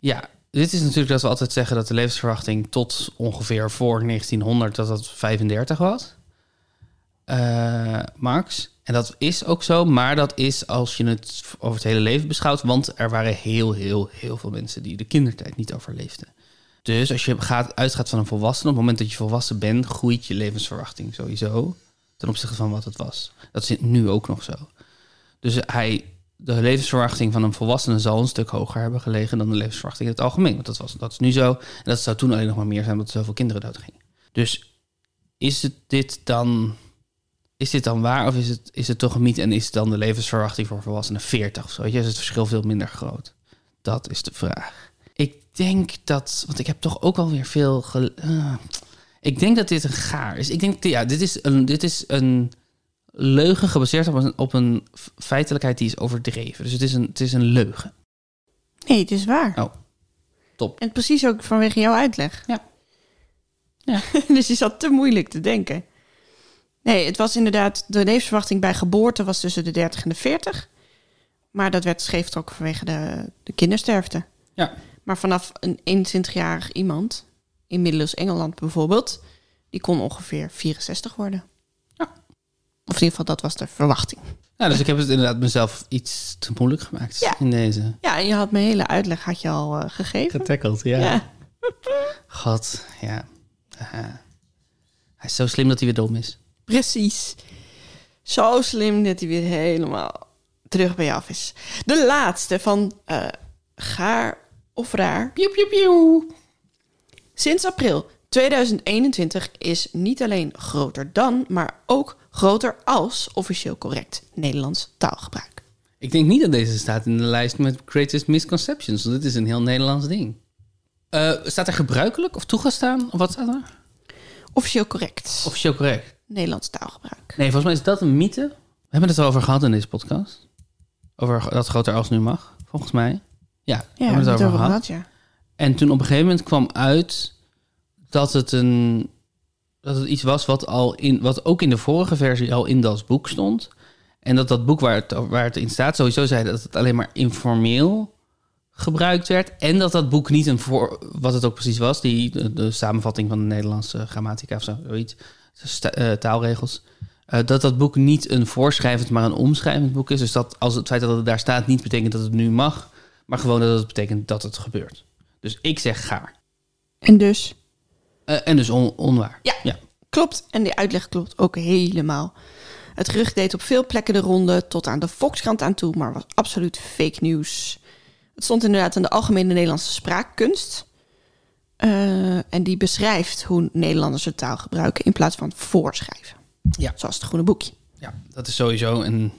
[SPEAKER 1] Ja, dit is natuurlijk dat we altijd zeggen dat de levensverwachting tot ongeveer voor 1900 dat dat 35 was. Eh, max. En dat is ook zo, maar dat is als je het over het hele leven beschouwt. Want er waren heel, heel, heel veel mensen die de kindertijd niet overleefden. Dus als je gaat, uitgaat van een volwassene, op het moment dat je volwassen bent, groeit je levensverwachting sowieso ten opzichte van wat het was. Dat zit nu ook nog zo. Dus hij, de levensverwachting van een volwassene zal een stuk hoger hebben gelegen dan de levensverwachting in het algemeen. Want dat, was, dat is nu zo. En dat zou toen alleen nog maar meer zijn omdat er zoveel kinderen doodgingen. Dus is het dit dan. Is dit dan waar of is het, is het toch een mythe en is dan de levensverwachting voor volwassenen 40 of zo? Weet je, is het verschil veel minder groot? Dat is de vraag. Ik denk dat, want ik heb toch ook wel weer veel. gel- eh, ik denk dat dit een gaar is. Ik denk, ja, dit is een, dit is een leugen gebaseerd op een, op een f- feitelijkheid die is overdreven. Dus het is een, het is een leugen.
[SPEAKER 2] Nee, het is waar.
[SPEAKER 1] Oh, top.
[SPEAKER 2] En precies ook vanwege jouw uitleg.
[SPEAKER 1] Ja. Ja.
[SPEAKER 2] dus je zat te moeilijk te denken. Nee, het was inderdaad, de levensverwachting bij geboorte was tussen de 30 en de 40. Maar dat werd scheefgetrokken vanwege de, de kindersterfte.
[SPEAKER 1] Ja.
[SPEAKER 2] Maar vanaf een 21-jarig iemand, in middeleeuws Engeland bijvoorbeeld, die kon ongeveer 64 worden.
[SPEAKER 1] Ja.
[SPEAKER 2] Of in ieder geval, dat was de verwachting.
[SPEAKER 1] Nou, dus ik heb het inderdaad mezelf iets te moeilijk gemaakt
[SPEAKER 2] Ja.
[SPEAKER 1] in deze.
[SPEAKER 2] Ja, en je had mijn hele uitleg had je al eh, gegeven.
[SPEAKER 1] Getackeld,
[SPEAKER 2] Ja.
[SPEAKER 1] God, ja. Aha. Hij is zo slim dat hij weer dom is.
[SPEAKER 2] Precies. Zo slim dat hij weer helemaal terug bij je af is. De laatste van eh, gaar of raar.
[SPEAKER 1] Piep, piep, piep.
[SPEAKER 2] Sinds april 2021 is niet alleen groter dan, maar ook groter als officieel correct Nederlands taalgebruik.
[SPEAKER 1] Ik denk niet dat deze staat in de lijst met greatest misconceptions. Want dit is een heel Nederlands ding. Eh, staat er gebruikelijk of toegestaan? Of wat staat er?
[SPEAKER 2] Officieel correct
[SPEAKER 1] Officieel correct.
[SPEAKER 2] Nederlands taalgebruik.
[SPEAKER 1] Nee, volgens mij is dat een mythe. We hebben het er al over gehad in deze podcast. Over dat groter als nu mag, volgens mij. Ja, we hebben
[SPEAKER 2] Ja, daar
[SPEAKER 1] het
[SPEAKER 2] hebben
[SPEAKER 1] over
[SPEAKER 2] we
[SPEAKER 1] gehad.
[SPEAKER 2] ja.
[SPEAKER 1] En toen op een gegeven moment kwam uit dat het, een, dat het iets was wat, al in, wat ook in de vorige versie al in dat boek stond. En dat dat boek waar het, waar het in staat sowieso zei dat het alleen maar informeel gebruikt werd. En dat dat boek niet een voor, wat het ook precies was, die, de, de samenvatting van de Nederlandse grammatica of zo, zoiets, sta- eh, taalregels. eh, dat dat boek niet een voorschrijvend, maar een omschrijvend boek is. Dus dat als het feit dat het daar staat niet betekent dat het nu mag, maar gewoon dat het betekent dat het gebeurt. Dus ik zeg gaar.
[SPEAKER 2] En dus
[SPEAKER 1] Eh, en dus on- onwaar.
[SPEAKER 2] Ja. klopt. En die uitleg klopt ook helemaal. Het gerucht deed op veel plekken de ronde, tot aan de Volkskrant aan toe, maar was absoluut fake nieuws. Het stond inderdaad in de Algemene Nederlandse Spraakkunst. Eh, en die beschrijft hoe Nederlanders hun taal gebruiken in plaats van voorschrijven.
[SPEAKER 1] Ja.
[SPEAKER 2] Zoals het groene boekje.
[SPEAKER 1] Ja, dat is sowieso een,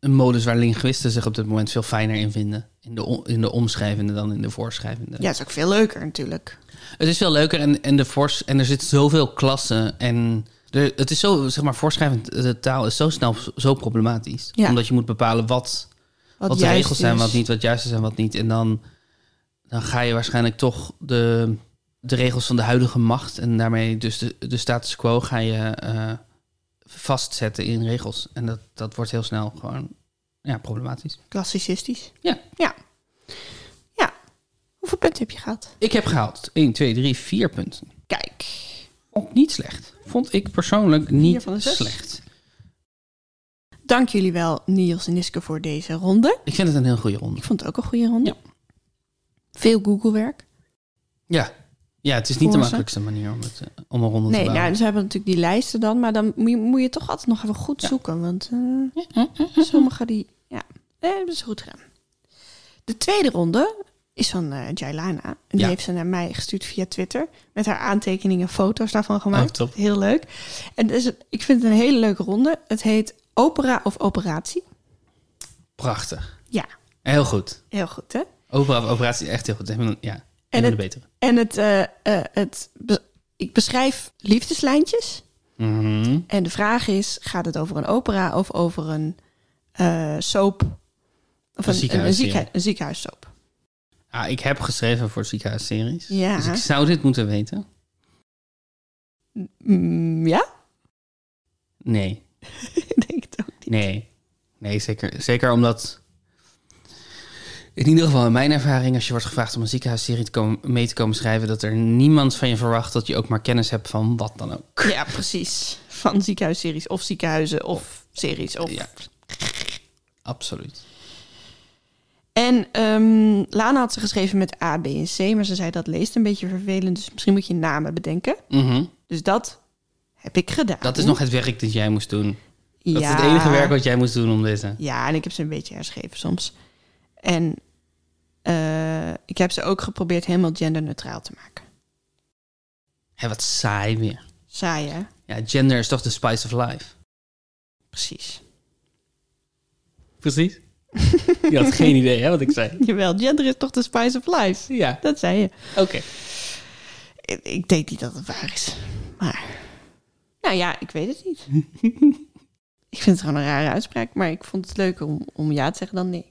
[SPEAKER 1] een modus waar linguisten zich op dit moment veel fijner in vinden. In de, o- in de omschrijvende dan in de voorschrijvende.
[SPEAKER 2] Ja, is ook veel leuker natuurlijk.
[SPEAKER 1] Het is veel leuker en, en, de fors, en er zit zoveel klassen. En er, het is zo, zeg maar, voorschrijvend eh, taal is zo snel zo problematisch.
[SPEAKER 2] Ja.
[SPEAKER 1] Omdat je moet bepalen wat, wat, de
[SPEAKER 2] juist
[SPEAKER 1] regels zijn,
[SPEAKER 2] is.
[SPEAKER 1] wat niet, wat juist is en wat niet. En dan, dan ga je waarschijnlijk toch de, de regels van de huidige macht en daarmee dus de, de status quo ga je eh, vastzetten in regels. En dat, dat wordt heel snel gewoon ja, problematisch.
[SPEAKER 2] Klassicistisch.
[SPEAKER 1] Ja.
[SPEAKER 2] Ja. Ja. Hoeveel punten heb je gehad?
[SPEAKER 1] Ik heb gehaald 1, 2, 3, 4 punten.
[SPEAKER 2] Kijk.
[SPEAKER 1] Vond niet slecht. Vond ik persoonlijk niet
[SPEAKER 2] van de zes.
[SPEAKER 1] slecht.
[SPEAKER 2] Dank jullie wel, Niels en Niske, voor deze ronde.
[SPEAKER 1] Ik vind het een heel goede ronde.
[SPEAKER 2] Ik vond het ook een goede ronde. Veel Google-werk.
[SPEAKER 1] Ja, ja het is niet de
[SPEAKER 2] Voor ze.
[SPEAKER 1] makkelijkste manier om, het, eh, om een ronde
[SPEAKER 2] Nee,
[SPEAKER 1] te bouwen.
[SPEAKER 2] nou, ze hebben natuurlijk die lijsten dan. Maar dan moet je, moet je toch altijd nog even goed zoeken. Want eh, sommige die... Ja, eh, hebben ze goed gedaan. De tweede ronde is van eh Jailana. En die
[SPEAKER 1] Ja.
[SPEAKER 2] heeft ze naar mij gestuurd via Twitter. Met haar aantekeningen en foto's daarvan gemaakt.
[SPEAKER 1] Oh, top.
[SPEAKER 2] Heel leuk. En dus, ik vind het een hele leuke ronde. Het heet Opera of Operatie.
[SPEAKER 1] Prachtig.
[SPEAKER 2] Ja,
[SPEAKER 1] Heel goed.
[SPEAKER 2] heel goed hè?
[SPEAKER 1] Opera of operatie, echt heel goed. Een van de- Ja, een
[SPEAKER 2] En
[SPEAKER 1] van de
[SPEAKER 2] het-
[SPEAKER 1] betere.
[SPEAKER 2] En het, eh, eh, het be- ik beschrijf liefdeslijntjes.
[SPEAKER 1] Mhm.
[SPEAKER 2] En de vraag is, gaat het over een opera of over een eh, soap? Of
[SPEAKER 1] Een
[SPEAKER 2] een, een, een,
[SPEAKER 1] ziekenhuisserie.
[SPEAKER 2] ziekhe- een ziekenhuissoap.
[SPEAKER 1] Ah, ik heb geschreven voor ziekenhuisseries.
[SPEAKER 2] Ja.
[SPEAKER 1] Dus ik zou dit moeten weten.
[SPEAKER 2] Mm, ja,
[SPEAKER 1] Nee,
[SPEAKER 2] ik denk het ook niet.
[SPEAKER 1] nee. Nee, zeker, zeker omdat... In ieder geval in mijn ervaring, als je wordt gevraagd om een ziekenhuisserie te komen, mee te komen schrijven, dat er niemand van je verwacht dat je ook maar kennis hebt van wat dan ook.
[SPEAKER 2] Ja, precies. Van ziekenhuisseries of ziekenhuizen of series. Of...
[SPEAKER 1] Ja. Absoluut.
[SPEAKER 2] En ehm, Lana had ze geschreven met A, B en C. Maar ze zei dat leest een beetje vervelend. Dus misschien moet je namen bedenken.
[SPEAKER 1] Mhm.
[SPEAKER 2] Dus dat heb ik gedaan.
[SPEAKER 1] Dat is nog het werk dat jij moest doen.
[SPEAKER 2] ja.
[SPEAKER 1] Dat is het enige werk wat jij moest doen om dit. hè?
[SPEAKER 2] Ja, en ik heb ze een beetje herschreven soms. En eh, ik heb ze ook geprobeerd helemaal genderneutraal te maken.
[SPEAKER 1] Hé, wat saai weer.
[SPEAKER 2] Saai, hè?
[SPEAKER 1] Ja, gender is toch de spice of life.
[SPEAKER 2] Precies.
[SPEAKER 1] Precies. Je had geen idee, hè, wat ik zei.
[SPEAKER 2] Jawel, gender is toch de spice of life?
[SPEAKER 1] Ja,
[SPEAKER 2] Dat zei je.
[SPEAKER 1] oké.
[SPEAKER 2] Ik, ik denk niet dat het waar is. Maar, nou ja, ik weet het niet. ik vind het gewoon een rare uitspraak, maar ik vond het leuker om, om ja te zeggen dan nee.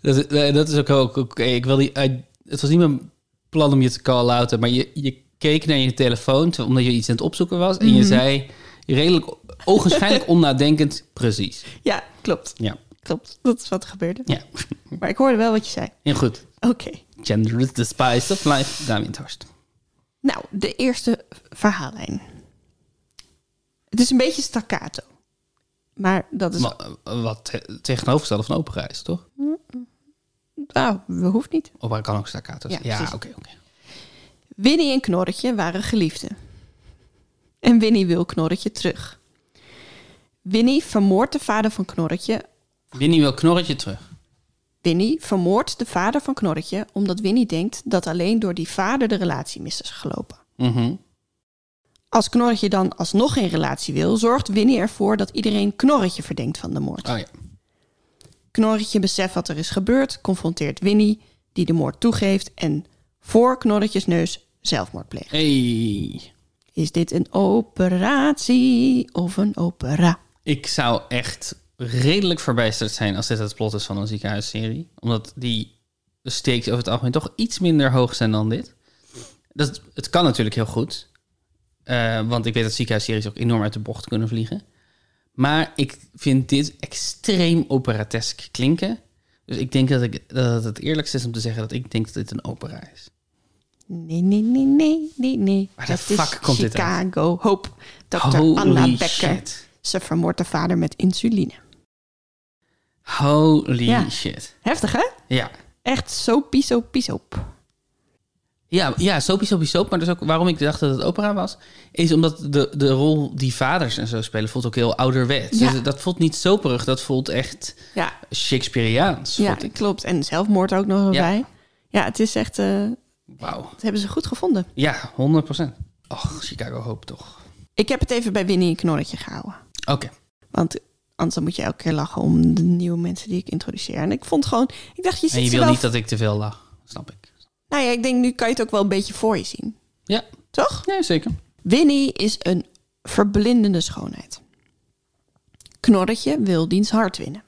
[SPEAKER 1] Dat, is- eh, dat is ook ook oké. Ik wil die, eh, het was niet mijn plan om je te call-outen, maar je, je keek naar je telefoon te- omdat je iets aan het opzoeken was en je zei redelijk ogenschijnlijk onnadenkend precies.
[SPEAKER 2] Ja, klopt.
[SPEAKER 1] Ja,
[SPEAKER 2] Klopt. Dat is wat er gebeurde.
[SPEAKER 1] ja.
[SPEAKER 2] Maar ik hoorde wel wat je zei.
[SPEAKER 1] Heel goed.
[SPEAKER 2] Oké.
[SPEAKER 1] Gender is the spice of life. Damien Torst.
[SPEAKER 2] Nou, de eerste verhaallijn. Het is een beetje staccato. Maar dat is...
[SPEAKER 1] Wa- eh, Wat te- tegenovergestelde van opera is, toch?
[SPEAKER 2] Ah, dat hoeft niet.
[SPEAKER 1] Opera kan ook staccato zijn.
[SPEAKER 2] Ja,
[SPEAKER 1] Ja, oké,
[SPEAKER 2] precies.
[SPEAKER 1] oké.
[SPEAKER 2] Winnie en Knorretje waren geliefden. En Winnie wil Knorretje terug. Winnie vermoordt de vader van Knorretje.
[SPEAKER 1] Winnie wil knorretje terug.
[SPEAKER 2] Winnie vermoordt de vader van Knorretje omdat Winnie denkt dat alleen door die vader de relatie mis is gelopen.
[SPEAKER 1] Mhm.
[SPEAKER 2] Als Knorretje dan alsnog geen relatie wil, zorgt Winnie ervoor dat iedereen Knorretje verdenkt van de moord.
[SPEAKER 1] Oh ja.
[SPEAKER 2] Knorretje beseft wat er is gebeurd, confronteert Winnie, die de moord toegeeft en voor Knorretjes neus zelfmoord pleegt.
[SPEAKER 1] Hey.
[SPEAKER 2] Is dit een operatie of een opera?
[SPEAKER 1] Ik zou echt redelijk verbijsterd zijn als dit het plot is van een ziekenhuisserie. Omdat die, de stakes over het algemeen toch iets minder hoog zijn dan dit. Dat, het kan natuurlijk heel goed. Eh, want ik weet dat ziekenhuisseries ook enorm uit de bocht kunnen vliegen. Maar ik vind dit extreem operatesk klinken. Dus ik denk dat, ik, dat het het eerlijkste is om te zeggen dat ik denk dat dit een opera is.
[SPEAKER 2] Nee, nee, nee, nee, nee, nee.
[SPEAKER 1] Waar de fuck
[SPEAKER 2] is
[SPEAKER 1] komt dit uit?
[SPEAKER 2] Chicago. Hope. Dr.
[SPEAKER 1] Holy
[SPEAKER 2] Anna Becker.
[SPEAKER 1] shit.
[SPEAKER 2] Ze vermoordt haar vader met insuline.
[SPEAKER 1] Holy
[SPEAKER 2] Ja.
[SPEAKER 1] shit.
[SPEAKER 2] Heftig, hè?
[SPEAKER 1] Ja.
[SPEAKER 2] Echt soapie, soapie, soap.
[SPEAKER 1] Ja, ja, soapie, soapie, soap. Maar dus ook waarom ik dacht dat het opera was, is omdat de, de rol die vaders en zo spelen voelt ook heel ouderwets.
[SPEAKER 2] Ja.
[SPEAKER 1] Dus dat voelt niet soperig, dat voelt echt
[SPEAKER 2] Ja,
[SPEAKER 1] Shakespeareaans.
[SPEAKER 2] ja
[SPEAKER 1] vond ik.
[SPEAKER 2] klopt. En zelfmoord ook nog wel
[SPEAKER 1] Ja.
[SPEAKER 2] bij. Ja, het is echt... eh,
[SPEAKER 1] Wauw.
[SPEAKER 2] dat hebben ze goed gevonden.
[SPEAKER 1] Ja, 100 procent. Och, Chicago Hope toch.
[SPEAKER 2] Ik heb het even bij Winnie een knorretje gehouden.
[SPEAKER 1] Oké.
[SPEAKER 2] Want anders dan moet je elke keer lachen om de nieuwe mensen die ik introduceer. En ik vond gewoon... Ik dacht, je ziet
[SPEAKER 1] En je
[SPEAKER 2] ze
[SPEAKER 1] wil
[SPEAKER 2] wel...
[SPEAKER 1] niet dat ik te veel lach. Snap ik.
[SPEAKER 2] Nou ja, ik denk nu kan je het ook wel een beetje voor je zien.
[SPEAKER 1] Ja,
[SPEAKER 2] Toch?
[SPEAKER 1] nee, zeker.
[SPEAKER 2] Winnie is een verblindende schoonheid. Knorretje wil diens hart winnen.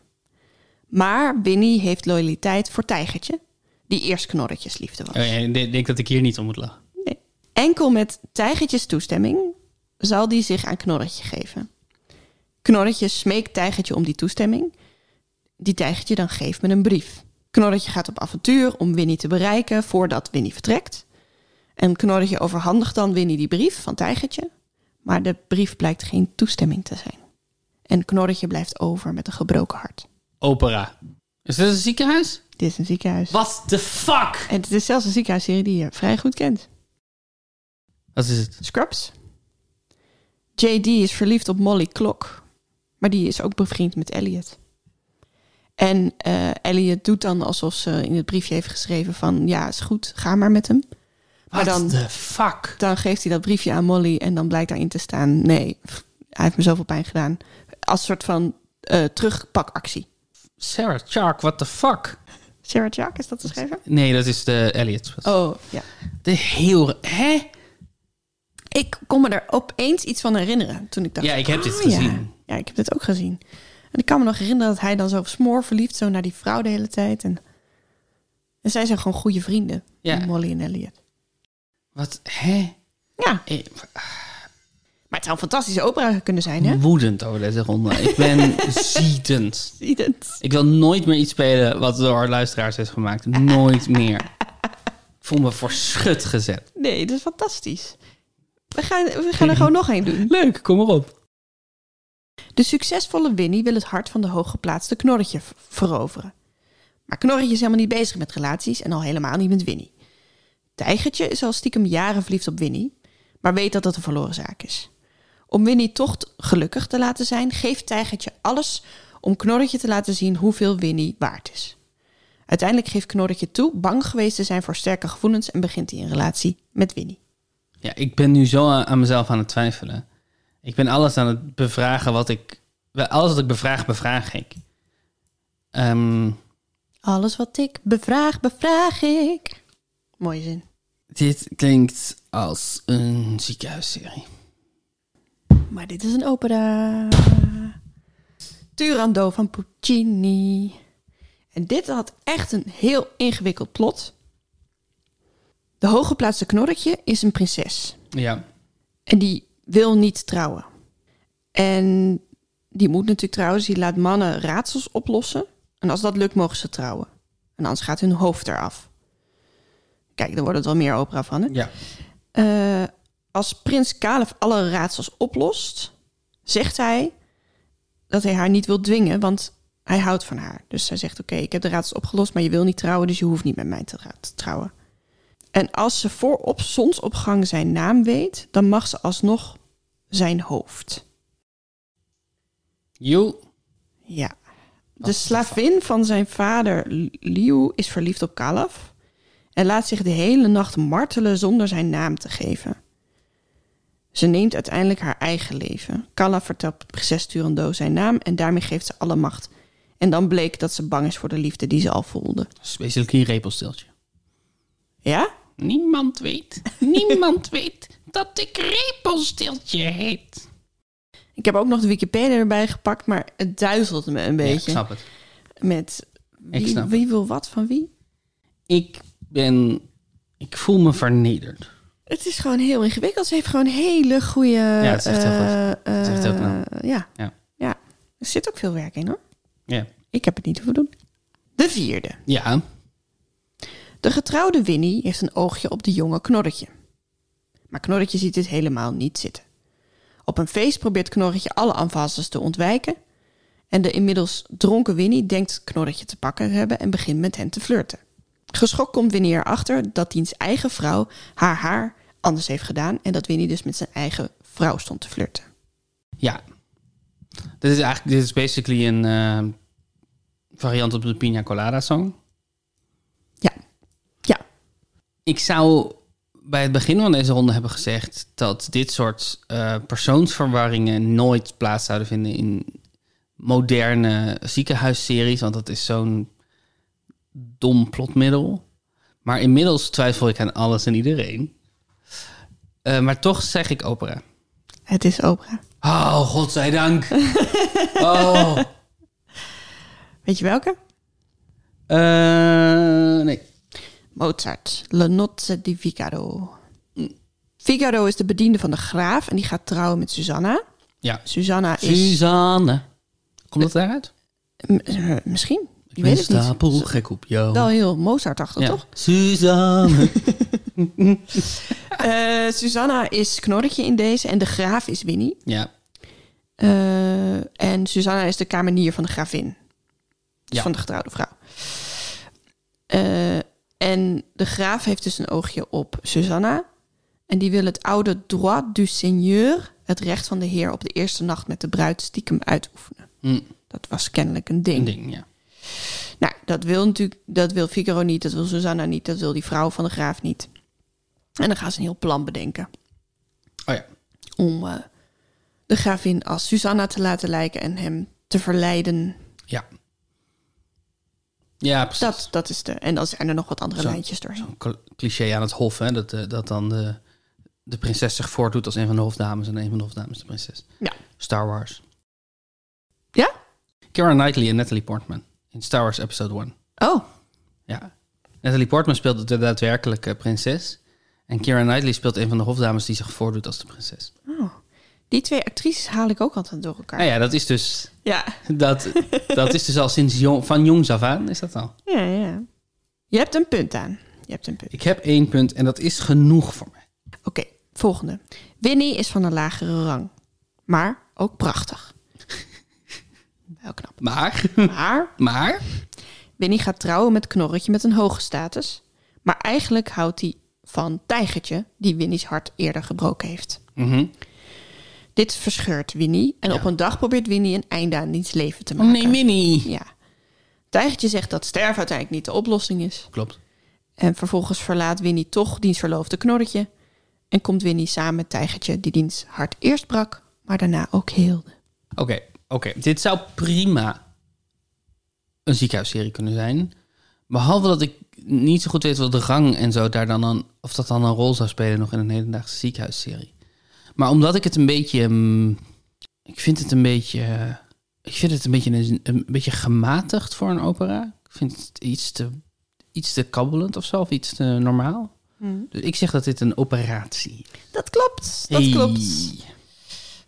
[SPEAKER 2] Maar Winnie heeft loyaliteit voor Tijgertje, die eerst Knorretjes liefde was.
[SPEAKER 1] Oh, ja, ik denk- denk dat ik hier niet om moet lachen.
[SPEAKER 2] Nee. Enkel met Tijgertjes toestemming zal die zich aan Knorretje geven. Knorretje smeekt Tijgertje om die toestemming, die Tijgertje dan geeft met een brief. Knorretje gaat op avontuur om Winnie te bereiken voordat Winnie vertrekt. En Knorretje overhandigt dan Winnie die brief van Tijgertje, maar de brief blijkt geen toestemming te zijn. En Knorretje blijft over met een gebroken hart.
[SPEAKER 1] Opera. Is dit een ziekenhuis?
[SPEAKER 2] Dit is een ziekenhuis.
[SPEAKER 1] What the fuck?
[SPEAKER 2] En het is zelfs een ziekenhuisserie die je vrij goed kent.
[SPEAKER 1] Wat is het?
[SPEAKER 2] Scrubs. JD is verliefd op Molly Klok. Maar die is ook bevriend met Elliot. En eh, Elliot doet dan alsof ze in het briefje heeft geschreven van... ja, is goed, ga maar met hem. Maar
[SPEAKER 1] What
[SPEAKER 2] dan,
[SPEAKER 1] the fuck?
[SPEAKER 2] dan geeft hij dat briefje aan Molly... en dan blijkt daarin te staan... nee, pff, hij heeft me zoveel pijn gedaan. Als soort van eh, terugpakactie.
[SPEAKER 1] Sarah Chark, what the fuck?
[SPEAKER 2] Sarah Jack, is dat de schrijver?
[SPEAKER 1] Nee, dat is de Elliot.
[SPEAKER 2] Oh, ja.
[SPEAKER 1] De heel... Hè?
[SPEAKER 2] Ik kon me er opeens iets van herinneren toen ik dacht...
[SPEAKER 1] Ja, ik heb dit
[SPEAKER 2] oh, Ja.
[SPEAKER 1] gezien.
[SPEAKER 2] ja, ik heb dit ook gezien. En ik kan me nog herinneren dat hij dan zo smoor verliefd zo naar die vrouw de hele tijd. En, en zij zijn gewoon goede vrienden,
[SPEAKER 1] Ja.
[SPEAKER 2] Molly en Elliot.
[SPEAKER 1] Wat, hè? Eh,
[SPEAKER 2] Ja,
[SPEAKER 1] Ik-
[SPEAKER 2] maar het zou een fantastische opera kunnen zijn, hè?
[SPEAKER 1] Woedend over deze ronde. Ik ben ziedend.
[SPEAKER 2] Zie je het?
[SPEAKER 1] Ik wil nooit meer iets spelen wat door luisteraars is gemaakt. Nooit meer. Ik voel me voor schut gezet.
[SPEAKER 2] Nee, dat is fantastisch. We gaan, we gaan er gewoon nog één doen.
[SPEAKER 1] Leuk, kom maar op.
[SPEAKER 2] De succesvolle Winnie wil het hart van de hooggeplaatste Knorretje v- veroveren. Maar Knorretje is helemaal niet bezig met relaties en al helemaal niet met Winnie. Tijgertje is al stiekem jaren verliefd op Winnie, maar weet dat dat een verloren zaak is. Om Winnie toch t- gelukkig te laten zijn, geeft Tijgertje alles om Knorretje te laten zien hoeveel Winnie waard is. Uiteindelijk geeft Knorretje toe bang geweest te zijn voor sterke gevoelens en begint hij een relatie met Winnie.
[SPEAKER 1] Ja, ik ben nu zo aan, aan mezelf aan het twijfelen. Ik ben alles aan het bevragen wat ik... wel, Alles wat ik bevraag, bevraag ik. Ehm,
[SPEAKER 2] Alles wat ik bevraag, bevraag ik. Mooie zin.
[SPEAKER 1] dit klinkt als een ziekenhuisserie.
[SPEAKER 2] Maar dit is een opera. Turandot van Puccini. En dit had echt een heel ingewikkeld plot. De hooggeplaatste knorretje is een prinses.
[SPEAKER 1] Ja.
[SPEAKER 2] En die wil niet trouwen. En die moet natuurlijk trouwen. dus Die laat mannen raadsels oplossen. En als dat lukt, mogen ze trouwen. En anders gaat hun hoofd eraf. Kijk, er wordt het wel meer opera van, hè?
[SPEAKER 1] Ja.
[SPEAKER 2] Eh, als prins Kalef alle raadsels oplost, zegt hij dat hij haar niet wil dwingen, want hij houdt van haar. Dus hij zegt: Oké, ik heb de raadsels opgelost, maar je wil niet trouwen, dus je hoeft niet met mij te, ra- te trouwen. En als ze voor op zonsopgang zijn naam weet, dan mag ze alsnog zijn hoofd.
[SPEAKER 1] Joe.
[SPEAKER 2] Ja. De slavin van zijn vader, L- Liu, is verliefd op Kalaf en laat zich de hele nacht martelen zonder zijn naam te geven. Ze neemt uiteindelijk haar eigen leven. Kalaf vertelt prinses Turando zijn naam en daarmee geeft ze alle macht. En dan bleek dat ze bang is voor de liefde die ze al voelde.
[SPEAKER 1] Specifiek een repelsteeltje.
[SPEAKER 2] Ja?
[SPEAKER 1] Niemand weet, niemand weet dat ik repelsteeltje heet.
[SPEAKER 2] Ik heb ook nog de Wikipedia erbij gepakt, maar het duizelde me een
[SPEAKER 1] Ja, ik
[SPEAKER 2] beetje.
[SPEAKER 1] snap het.
[SPEAKER 2] Met wie,
[SPEAKER 1] snap
[SPEAKER 2] wie wil wat van wie?
[SPEAKER 1] Ik ben... Ik voel me vernederd.
[SPEAKER 2] Het is gewoon heel ingewikkeld. Ze heeft gewoon hele goede... Ja,
[SPEAKER 1] het is echt heel goed. Het is echt heel knap.
[SPEAKER 2] Ja,
[SPEAKER 1] Ja.
[SPEAKER 2] ja. Er zit ook veel werk in hoor.
[SPEAKER 1] Ja.
[SPEAKER 2] Ik heb het niet hoeven doen. De vierde.
[SPEAKER 1] Ja.
[SPEAKER 2] De getrouwde Winnie heeft een oogje op de jonge Knorretje. Maar Knorretje ziet dit helemaal niet zitten. Op een feest probeert Knorretje alle aanvassers te ontwijken. En de inmiddels dronken Winnie denkt Knorretje te pakken te hebben en begint met hen te flirten. Geschokt komt Winnie erachter dat diens eigen vrouw haar haar anders heeft gedaan en dat Winnie dus met zijn eigen vrouw stond te flirten.
[SPEAKER 1] Ja. Dit is eigenlijk... Dit is basically een eh, variant op de Pina Colada song.
[SPEAKER 2] Ja, ja,
[SPEAKER 1] Ik zou bij het begin van deze ronde hebben gezegd dat dit soort eh, persoonsverwarringen nooit plaats zouden vinden in moderne ziekenhuisseries, want dat is zo'n dom plotmiddel. Maar inmiddels twijfel ik aan alles en iedereen. Eh, maar toch zeg ik opera.
[SPEAKER 2] het is opera.
[SPEAKER 1] Oh, godzijdank. Oh.
[SPEAKER 2] Weet je welke?
[SPEAKER 1] Eh, nee.
[SPEAKER 2] Mozart, La Nozze di Figaro. Mm. Figaro is de bediende van de graaf en die gaat trouwen met Susanna.
[SPEAKER 1] Ja.
[SPEAKER 2] Susanna is...
[SPEAKER 1] Suzanne. Komt dat daaruit?
[SPEAKER 2] m- eh, misschien, ik
[SPEAKER 1] ben
[SPEAKER 2] weet het niet.
[SPEAKER 1] stapel
[SPEAKER 2] Ze-
[SPEAKER 1] gek op jou.
[SPEAKER 2] Wel heel Mozart-achtig, toch?
[SPEAKER 1] Suzanne.
[SPEAKER 2] Eh, Susanna is knorretje in deze en de graaf is Winnie.
[SPEAKER 1] ja.
[SPEAKER 2] Eh, en Susanna is de kamenier van de gravin. Dus
[SPEAKER 1] Ja.
[SPEAKER 2] van de getrouwde vrouw. Eh, en de graaf heeft dus een oogje op Susanna. En die wil het oude droit du seigneur, het recht van de heer op de eerste nacht met de bruid, stiekem uitoefenen.
[SPEAKER 1] Hm,
[SPEAKER 2] Dat was kennelijk een ding.
[SPEAKER 1] Een ding, ja.
[SPEAKER 2] Nou, dat wil natuurlijk, dat wil Figaro niet, dat wil Susanna niet, dat wil die vrouw van de graaf niet. En dan gaan ze een heel plan bedenken
[SPEAKER 1] Oh ja.
[SPEAKER 2] om eh, de gravin als Susanna te laten lijken en hem te verleiden
[SPEAKER 1] Ja. Ja, precies.
[SPEAKER 2] Dat, dat is de. En dan zijn er nog wat andere
[SPEAKER 1] Zo.
[SPEAKER 2] lijntjes doorheen.
[SPEAKER 1] Zo'n cl- cliché aan het hof, hè. Dat, eh, dat dan de, de prinses zich voordoet als een van de hofdames en een van de hofdames de prinses.
[SPEAKER 2] Ja.
[SPEAKER 1] Star Wars.
[SPEAKER 2] Ja?
[SPEAKER 1] Keira Knightley en Natalie Portman in Star Wars Episode 1.
[SPEAKER 2] Oh,
[SPEAKER 1] Ja. Natalie Portman speelt de daadwerkelijke prinses. En Keira Knightley speelt een van de hofdames die zich voordoet als de prinses.
[SPEAKER 2] oh. Die twee actrices haal ik ook altijd door elkaar.
[SPEAKER 1] Nou ja, dat is dus
[SPEAKER 2] Ja.
[SPEAKER 1] Dat, dat is dus al sinds jong, van jongs af aan, is dat al?
[SPEAKER 2] Ja, ja. Je hebt een punt aan. Je hebt een punt.
[SPEAKER 1] Ik heb één punt en dat is genoeg voor mij.
[SPEAKER 2] Oké, volgende. Winnie is van een lagere rang. Maar ook prachtig. Wel knap.
[SPEAKER 1] Maar,
[SPEAKER 2] Maar
[SPEAKER 1] maar,
[SPEAKER 2] Winnie gaat trouwen met Knorretje met een hoge status. Maar eigenlijk houdt hij van Tijgertje, die Winnie's hart eerder gebroken heeft.
[SPEAKER 1] mhm.
[SPEAKER 2] Dit verscheurt Winnie. En op een dag probeert Winnie een einde aan diens leven te maken.
[SPEAKER 1] nee, Minnie.
[SPEAKER 2] Ja. Tijgertje zegt dat sterven uiteindelijk niet de oplossing is.
[SPEAKER 1] Klopt.
[SPEAKER 2] En vervolgens verlaat Winnie toch diens verloofde knorretje. En komt Winnie samen met Tijgertje, die diens hart eerst brak, maar daarna ook heelde.
[SPEAKER 1] Oké, oké. Dit zou prima een ziekenhuisserie kunnen zijn. Behalve dat ik niet zo goed weet wat de rang en zo daar dan een, of dat dan een rol zou spelen nog in een hedendaagse ziekenhuisserie. Maar omdat ik het een beetje, mm, ik vind het een beetje, ik vind het een beetje een, een beetje gematigd voor een opera. Ik vind het iets te, iets te kabbelend of zo, of iets te normaal. Dus ik zeg dat dit een operatie. is.
[SPEAKER 2] Dat klopt, Mm. dat
[SPEAKER 1] Hey.
[SPEAKER 2] klopt.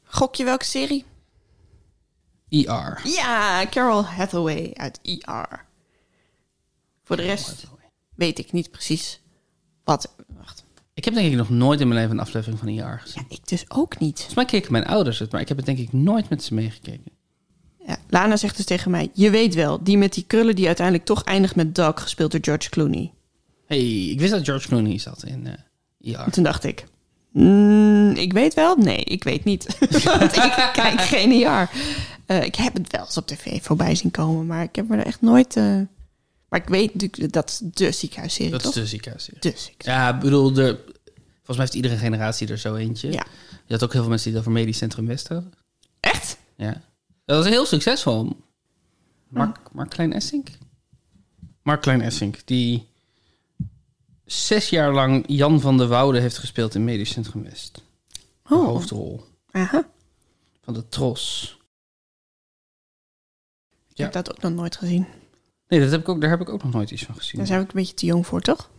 [SPEAKER 2] Gok je welke serie?
[SPEAKER 1] ER.
[SPEAKER 2] Ja, Carol Hathaway uit ER. Voor de rest weet ik niet precies wat... Wacht,
[SPEAKER 1] Ik heb denk ik nog nooit in mijn leven een aflevering van ER gezien.
[SPEAKER 2] ja, ik dus ook niet.
[SPEAKER 1] Volgens mij keken mijn ouders het, maar ik heb het denk ik nooit met ze meegekeken.
[SPEAKER 2] Ja, Lana zegt dus tegen mij, je weet wel, die met die krullen die uiteindelijk toch eindigt met Doug, gespeeld door George Clooney.
[SPEAKER 1] hey, ik wist dat George Clooney zat in eh ER.
[SPEAKER 2] Toen dacht ik, "Mm, ik weet wel. Nee, ik weet niet. Want ik kijk geen jaar. ik heb het wel eens op tv voorbij zien komen, maar ik heb me er echt nooit... eh, maar ik weet natuurlijk, dat is de ziekenhuisserie,
[SPEAKER 1] Dat is
[SPEAKER 2] toch?
[SPEAKER 1] de ziekenhuisserie.
[SPEAKER 2] De ziekenhuis.
[SPEAKER 1] Ja, ik bedoel, er, volgens mij heeft iedere generatie er zo eentje.
[SPEAKER 2] Ja.
[SPEAKER 1] Je had ook heel veel mensen die dat voor Medisch Centrum West hadden.
[SPEAKER 2] Echt?
[SPEAKER 1] Ja. Dat was heel succesvol.
[SPEAKER 2] Hm.
[SPEAKER 1] Mark, Mark Klein Essink? Mark Klein Essink, die zes jaar lang Jan van de Woude heeft gespeeld in Medisch Centrum West. De
[SPEAKER 2] Oh.
[SPEAKER 1] hoofdrol
[SPEAKER 2] Aha.
[SPEAKER 1] van de Tros.
[SPEAKER 2] Ik heb dat ook nog nooit gezien.
[SPEAKER 1] Nee, dat heb ik ook, daar heb ik ook nog nooit iets van gezien.
[SPEAKER 2] Daar zijn we ook een beetje te jong voor, toch?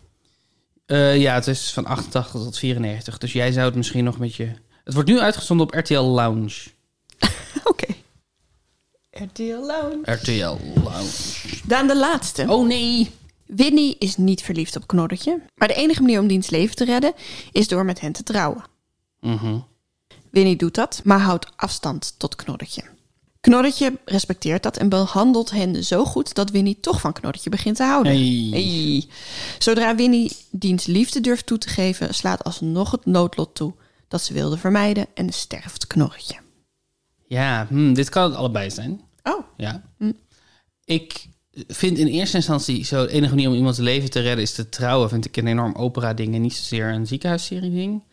[SPEAKER 1] Eh, ja, het is van 88 tot 94. Dus jij zou het misschien nog met je... Het wordt nu uitgezonden op RTL Lounge.
[SPEAKER 2] Oké. RTL Lounge.
[SPEAKER 1] RTL Lounge.
[SPEAKER 2] Dan de laatste.
[SPEAKER 1] Oh nee!
[SPEAKER 2] Whitney is niet verliefd op Knorretje. Maar de enige manier om diens leven te redden is door met hen te trouwen.
[SPEAKER 1] Mhm.
[SPEAKER 2] Winnie doet dat, maar houdt afstand tot Knorretje. Knorretje respecteert dat en behandelt hen zo goed dat Winnie toch van Knorretje begint te houden.
[SPEAKER 1] Hey.
[SPEAKER 2] Hey. Zodra Winnie diens liefde durft toe te geven, slaat alsnog het noodlot toe dat ze wilde vermijden en sterft Knorretje.
[SPEAKER 1] Ja, hmm, dit kan het allebei zijn.
[SPEAKER 2] Oh,
[SPEAKER 1] Ja. Ik vind in eerste instantie zo de enige manier om iemands leven te redden is te trouwen. Vind ik een enorm opera-ding en niet zozeer een ziekenhuisserie-ding.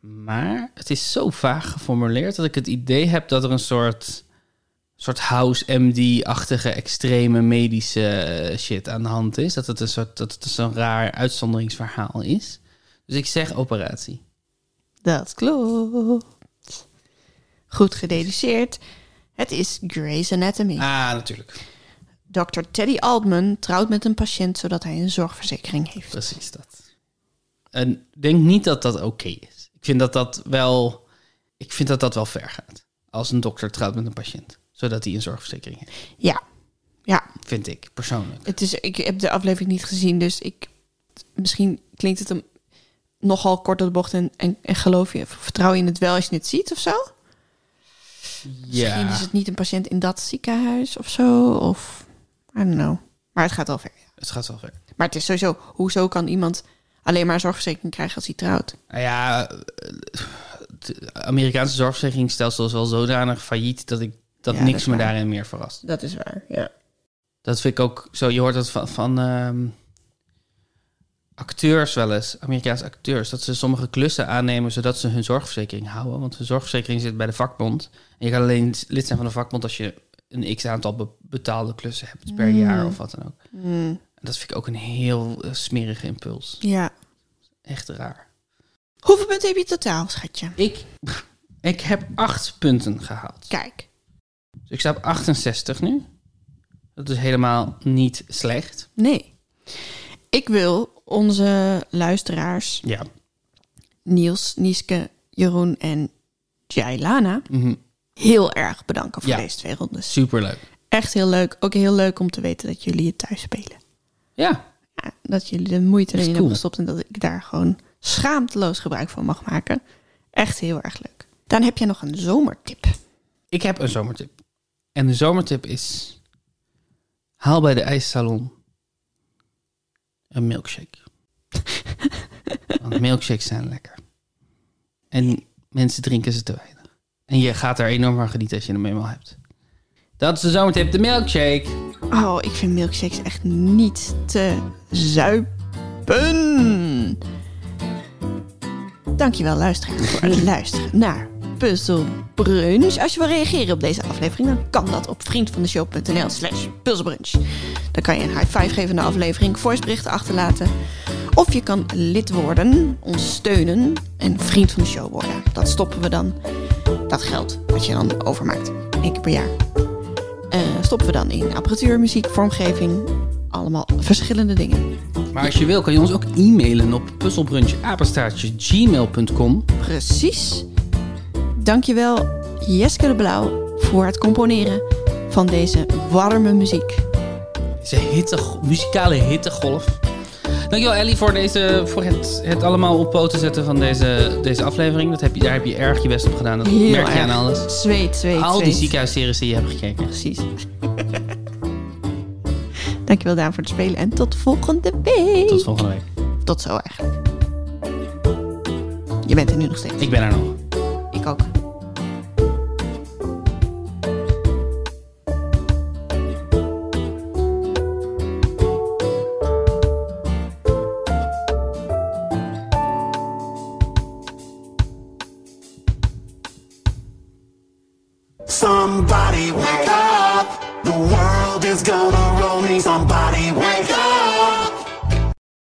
[SPEAKER 1] Maar het is zo vaag geformuleerd dat ik het idee heb dat er een soort, soort house MD-achtige extreme medische eh, shit aan de hand is. Dat het een soort dat het zo'n raar uitzonderingsverhaal is. Dus ik zeg operatie.
[SPEAKER 2] dat klopt. Goed gededuceerd. Het is Grey's Anatomy.
[SPEAKER 1] Ah, natuurlijk.
[SPEAKER 2] Dr. Teddy Altman trouwt met een patiënt zodat hij een zorgverzekering heeft.
[SPEAKER 1] Precies dat. En ik denk niet dat dat oké is. Ik vind dat dat wel. Ik vind dat dat wel ver gaat. Als een dokter trouwt met een patiënt, zodat hij een zorgverzekering heeft.
[SPEAKER 2] Ja, ja.
[SPEAKER 1] Vind ik persoonlijk.
[SPEAKER 2] Het is, ik heb de aflevering niet gezien, dus ik, misschien klinkt het hem nogal kort op de bocht en, en, en geloof je, vertrouw je in het wel als je het ziet of zo? Misschien is
[SPEAKER 1] Ja,
[SPEAKER 2] het niet een patiënt in dat ziekenhuis of zo, of I don't know. Maar het gaat wel ver.
[SPEAKER 1] het gaat wel ver.
[SPEAKER 2] Maar het is sowieso, hoezo kan iemand alleen maar een zorgverzekering krijgen als hij trouwt?
[SPEAKER 1] Nou ja, het Amerikaanse zorgverzekeringsstelsel is wel zodanig failliet dat ik dat
[SPEAKER 2] Ja, dat
[SPEAKER 1] niks
[SPEAKER 2] is
[SPEAKER 1] me
[SPEAKER 2] waar.
[SPEAKER 1] daarin meer verrast.
[SPEAKER 2] Dat is waar, ja.
[SPEAKER 1] Dat vind ik ook zo. Je hoort dat van, van ehm, acteurs wel eens, Amerikaanse acteurs, dat ze sommige klussen aannemen zodat ze hun zorgverzekering houden. Want hun zorgverzekering zit bij de vakbond. En je kan alleen lid zijn van de vakbond als je een x aantal be- betaalde klussen hebt per jaar of wat dan ook. En dat vind ik ook een heel eh, smerige impuls.
[SPEAKER 2] Ja.
[SPEAKER 1] Echt raar.
[SPEAKER 2] Hoeveel punten heb je totaal, schatje?
[SPEAKER 1] Ik, ik heb acht punten gehaald.
[SPEAKER 2] Kijk,
[SPEAKER 1] Dus ik sta op 68 nu. Dat is helemaal niet slecht.
[SPEAKER 2] nee. Ik wil onze luisteraars
[SPEAKER 1] Ja.
[SPEAKER 2] Niels, Nieske, Jeroen en Jailana
[SPEAKER 1] Mhm.
[SPEAKER 2] heel erg bedanken voor
[SPEAKER 1] Ja.
[SPEAKER 2] deze twee rondes.
[SPEAKER 1] Superleuk.
[SPEAKER 2] Echt heel leuk. Ook heel leuk om te weten dat jullie het thuis spelen.
[SPEAKER 1] Ja.
[SPEAKER 2] Ja, dat jullie de moeite erin
[SPEAKER 1] Echt
[SPEAKER 2] hebben
[SPEAKER 1] cool.
[SPEAKER 2] gestopt en dat ik daar gewoon schaamteloos gebruik van mag maken. Echt heel erg leuk. Dan heb je nog een zomertip.
[SPEAKER 1] Ik heb een zomertip. En de zomertip is... Haal bij de ijssalon een milkshake. Want milkshakes zijn lekker. En mensen drinken ze te weinig. En je gaat er enorm van genieten als je hem eenmaal hebt. Dat is de zomertip, de milkshake.
[SPEAKER 2] Oh, ik vind milkshakes echt niet te zuipen. Dankjewel luisteraar voor het luisteren naar Puzzle Brunch. Als je wil reageren op deze aflevering, dan kan dat op vriendvandeshow.nl slash puzzelbrunch. Dan kan je een high five geven naar de aflevering, voiceberichten achterlaten. Of je kan lid worden, ons steunen en vriend van de show worden. Dat stoppen we dan. Dat geld wat je dan overmaakt. Eén keer per jaar eh, stoppen we dan in apparatuur, muziek, vormgeving. Allemaal verschillende dingen.
[SPEAKER 1] Maar als je wil, kan je ons ook e-mailen op puzzelbrunchapenstaartje.gmail.com.
[SPEAKER 2] Precies. Dankjewel Jeske de Blauw voor het componeren van deze warme muziek.
[SPEAKER 1] Deze hitte, muzikale hittegolf. Dankjewel Ellie voor, deze, voor het, het allemaal op poten zetten van deze, deze aflevering. Dat heb je, daar heb je erg je best op gedaan. Dat
[SPEAKER 2] Heel
[SPEAKER 1] merk je
[SPEAKER 2] erg.
[SPEAKER 1] aan alles.
[SPEAKER 2] Zweet, zweet,
[SPEAKER 1] Al die
[SPEAKER 2] zweet.
[SPEAKER 1] ziekenhuisseries die je hebt gekeken.
[SPEAKER 2] Precies. Dankjewel Daan voor het spelen en tot volgende week.
[SPEAKER 1] Tot volgende week.
[SPEAKER 2] Tot zo eigenlijk. Je bent er nu nog steeds.
[SPEAKER 1] Ik ben er nog.
[SPEAKER 2] Ik ook.
[SPEAKER 3] Somebody wake up! The world is gonna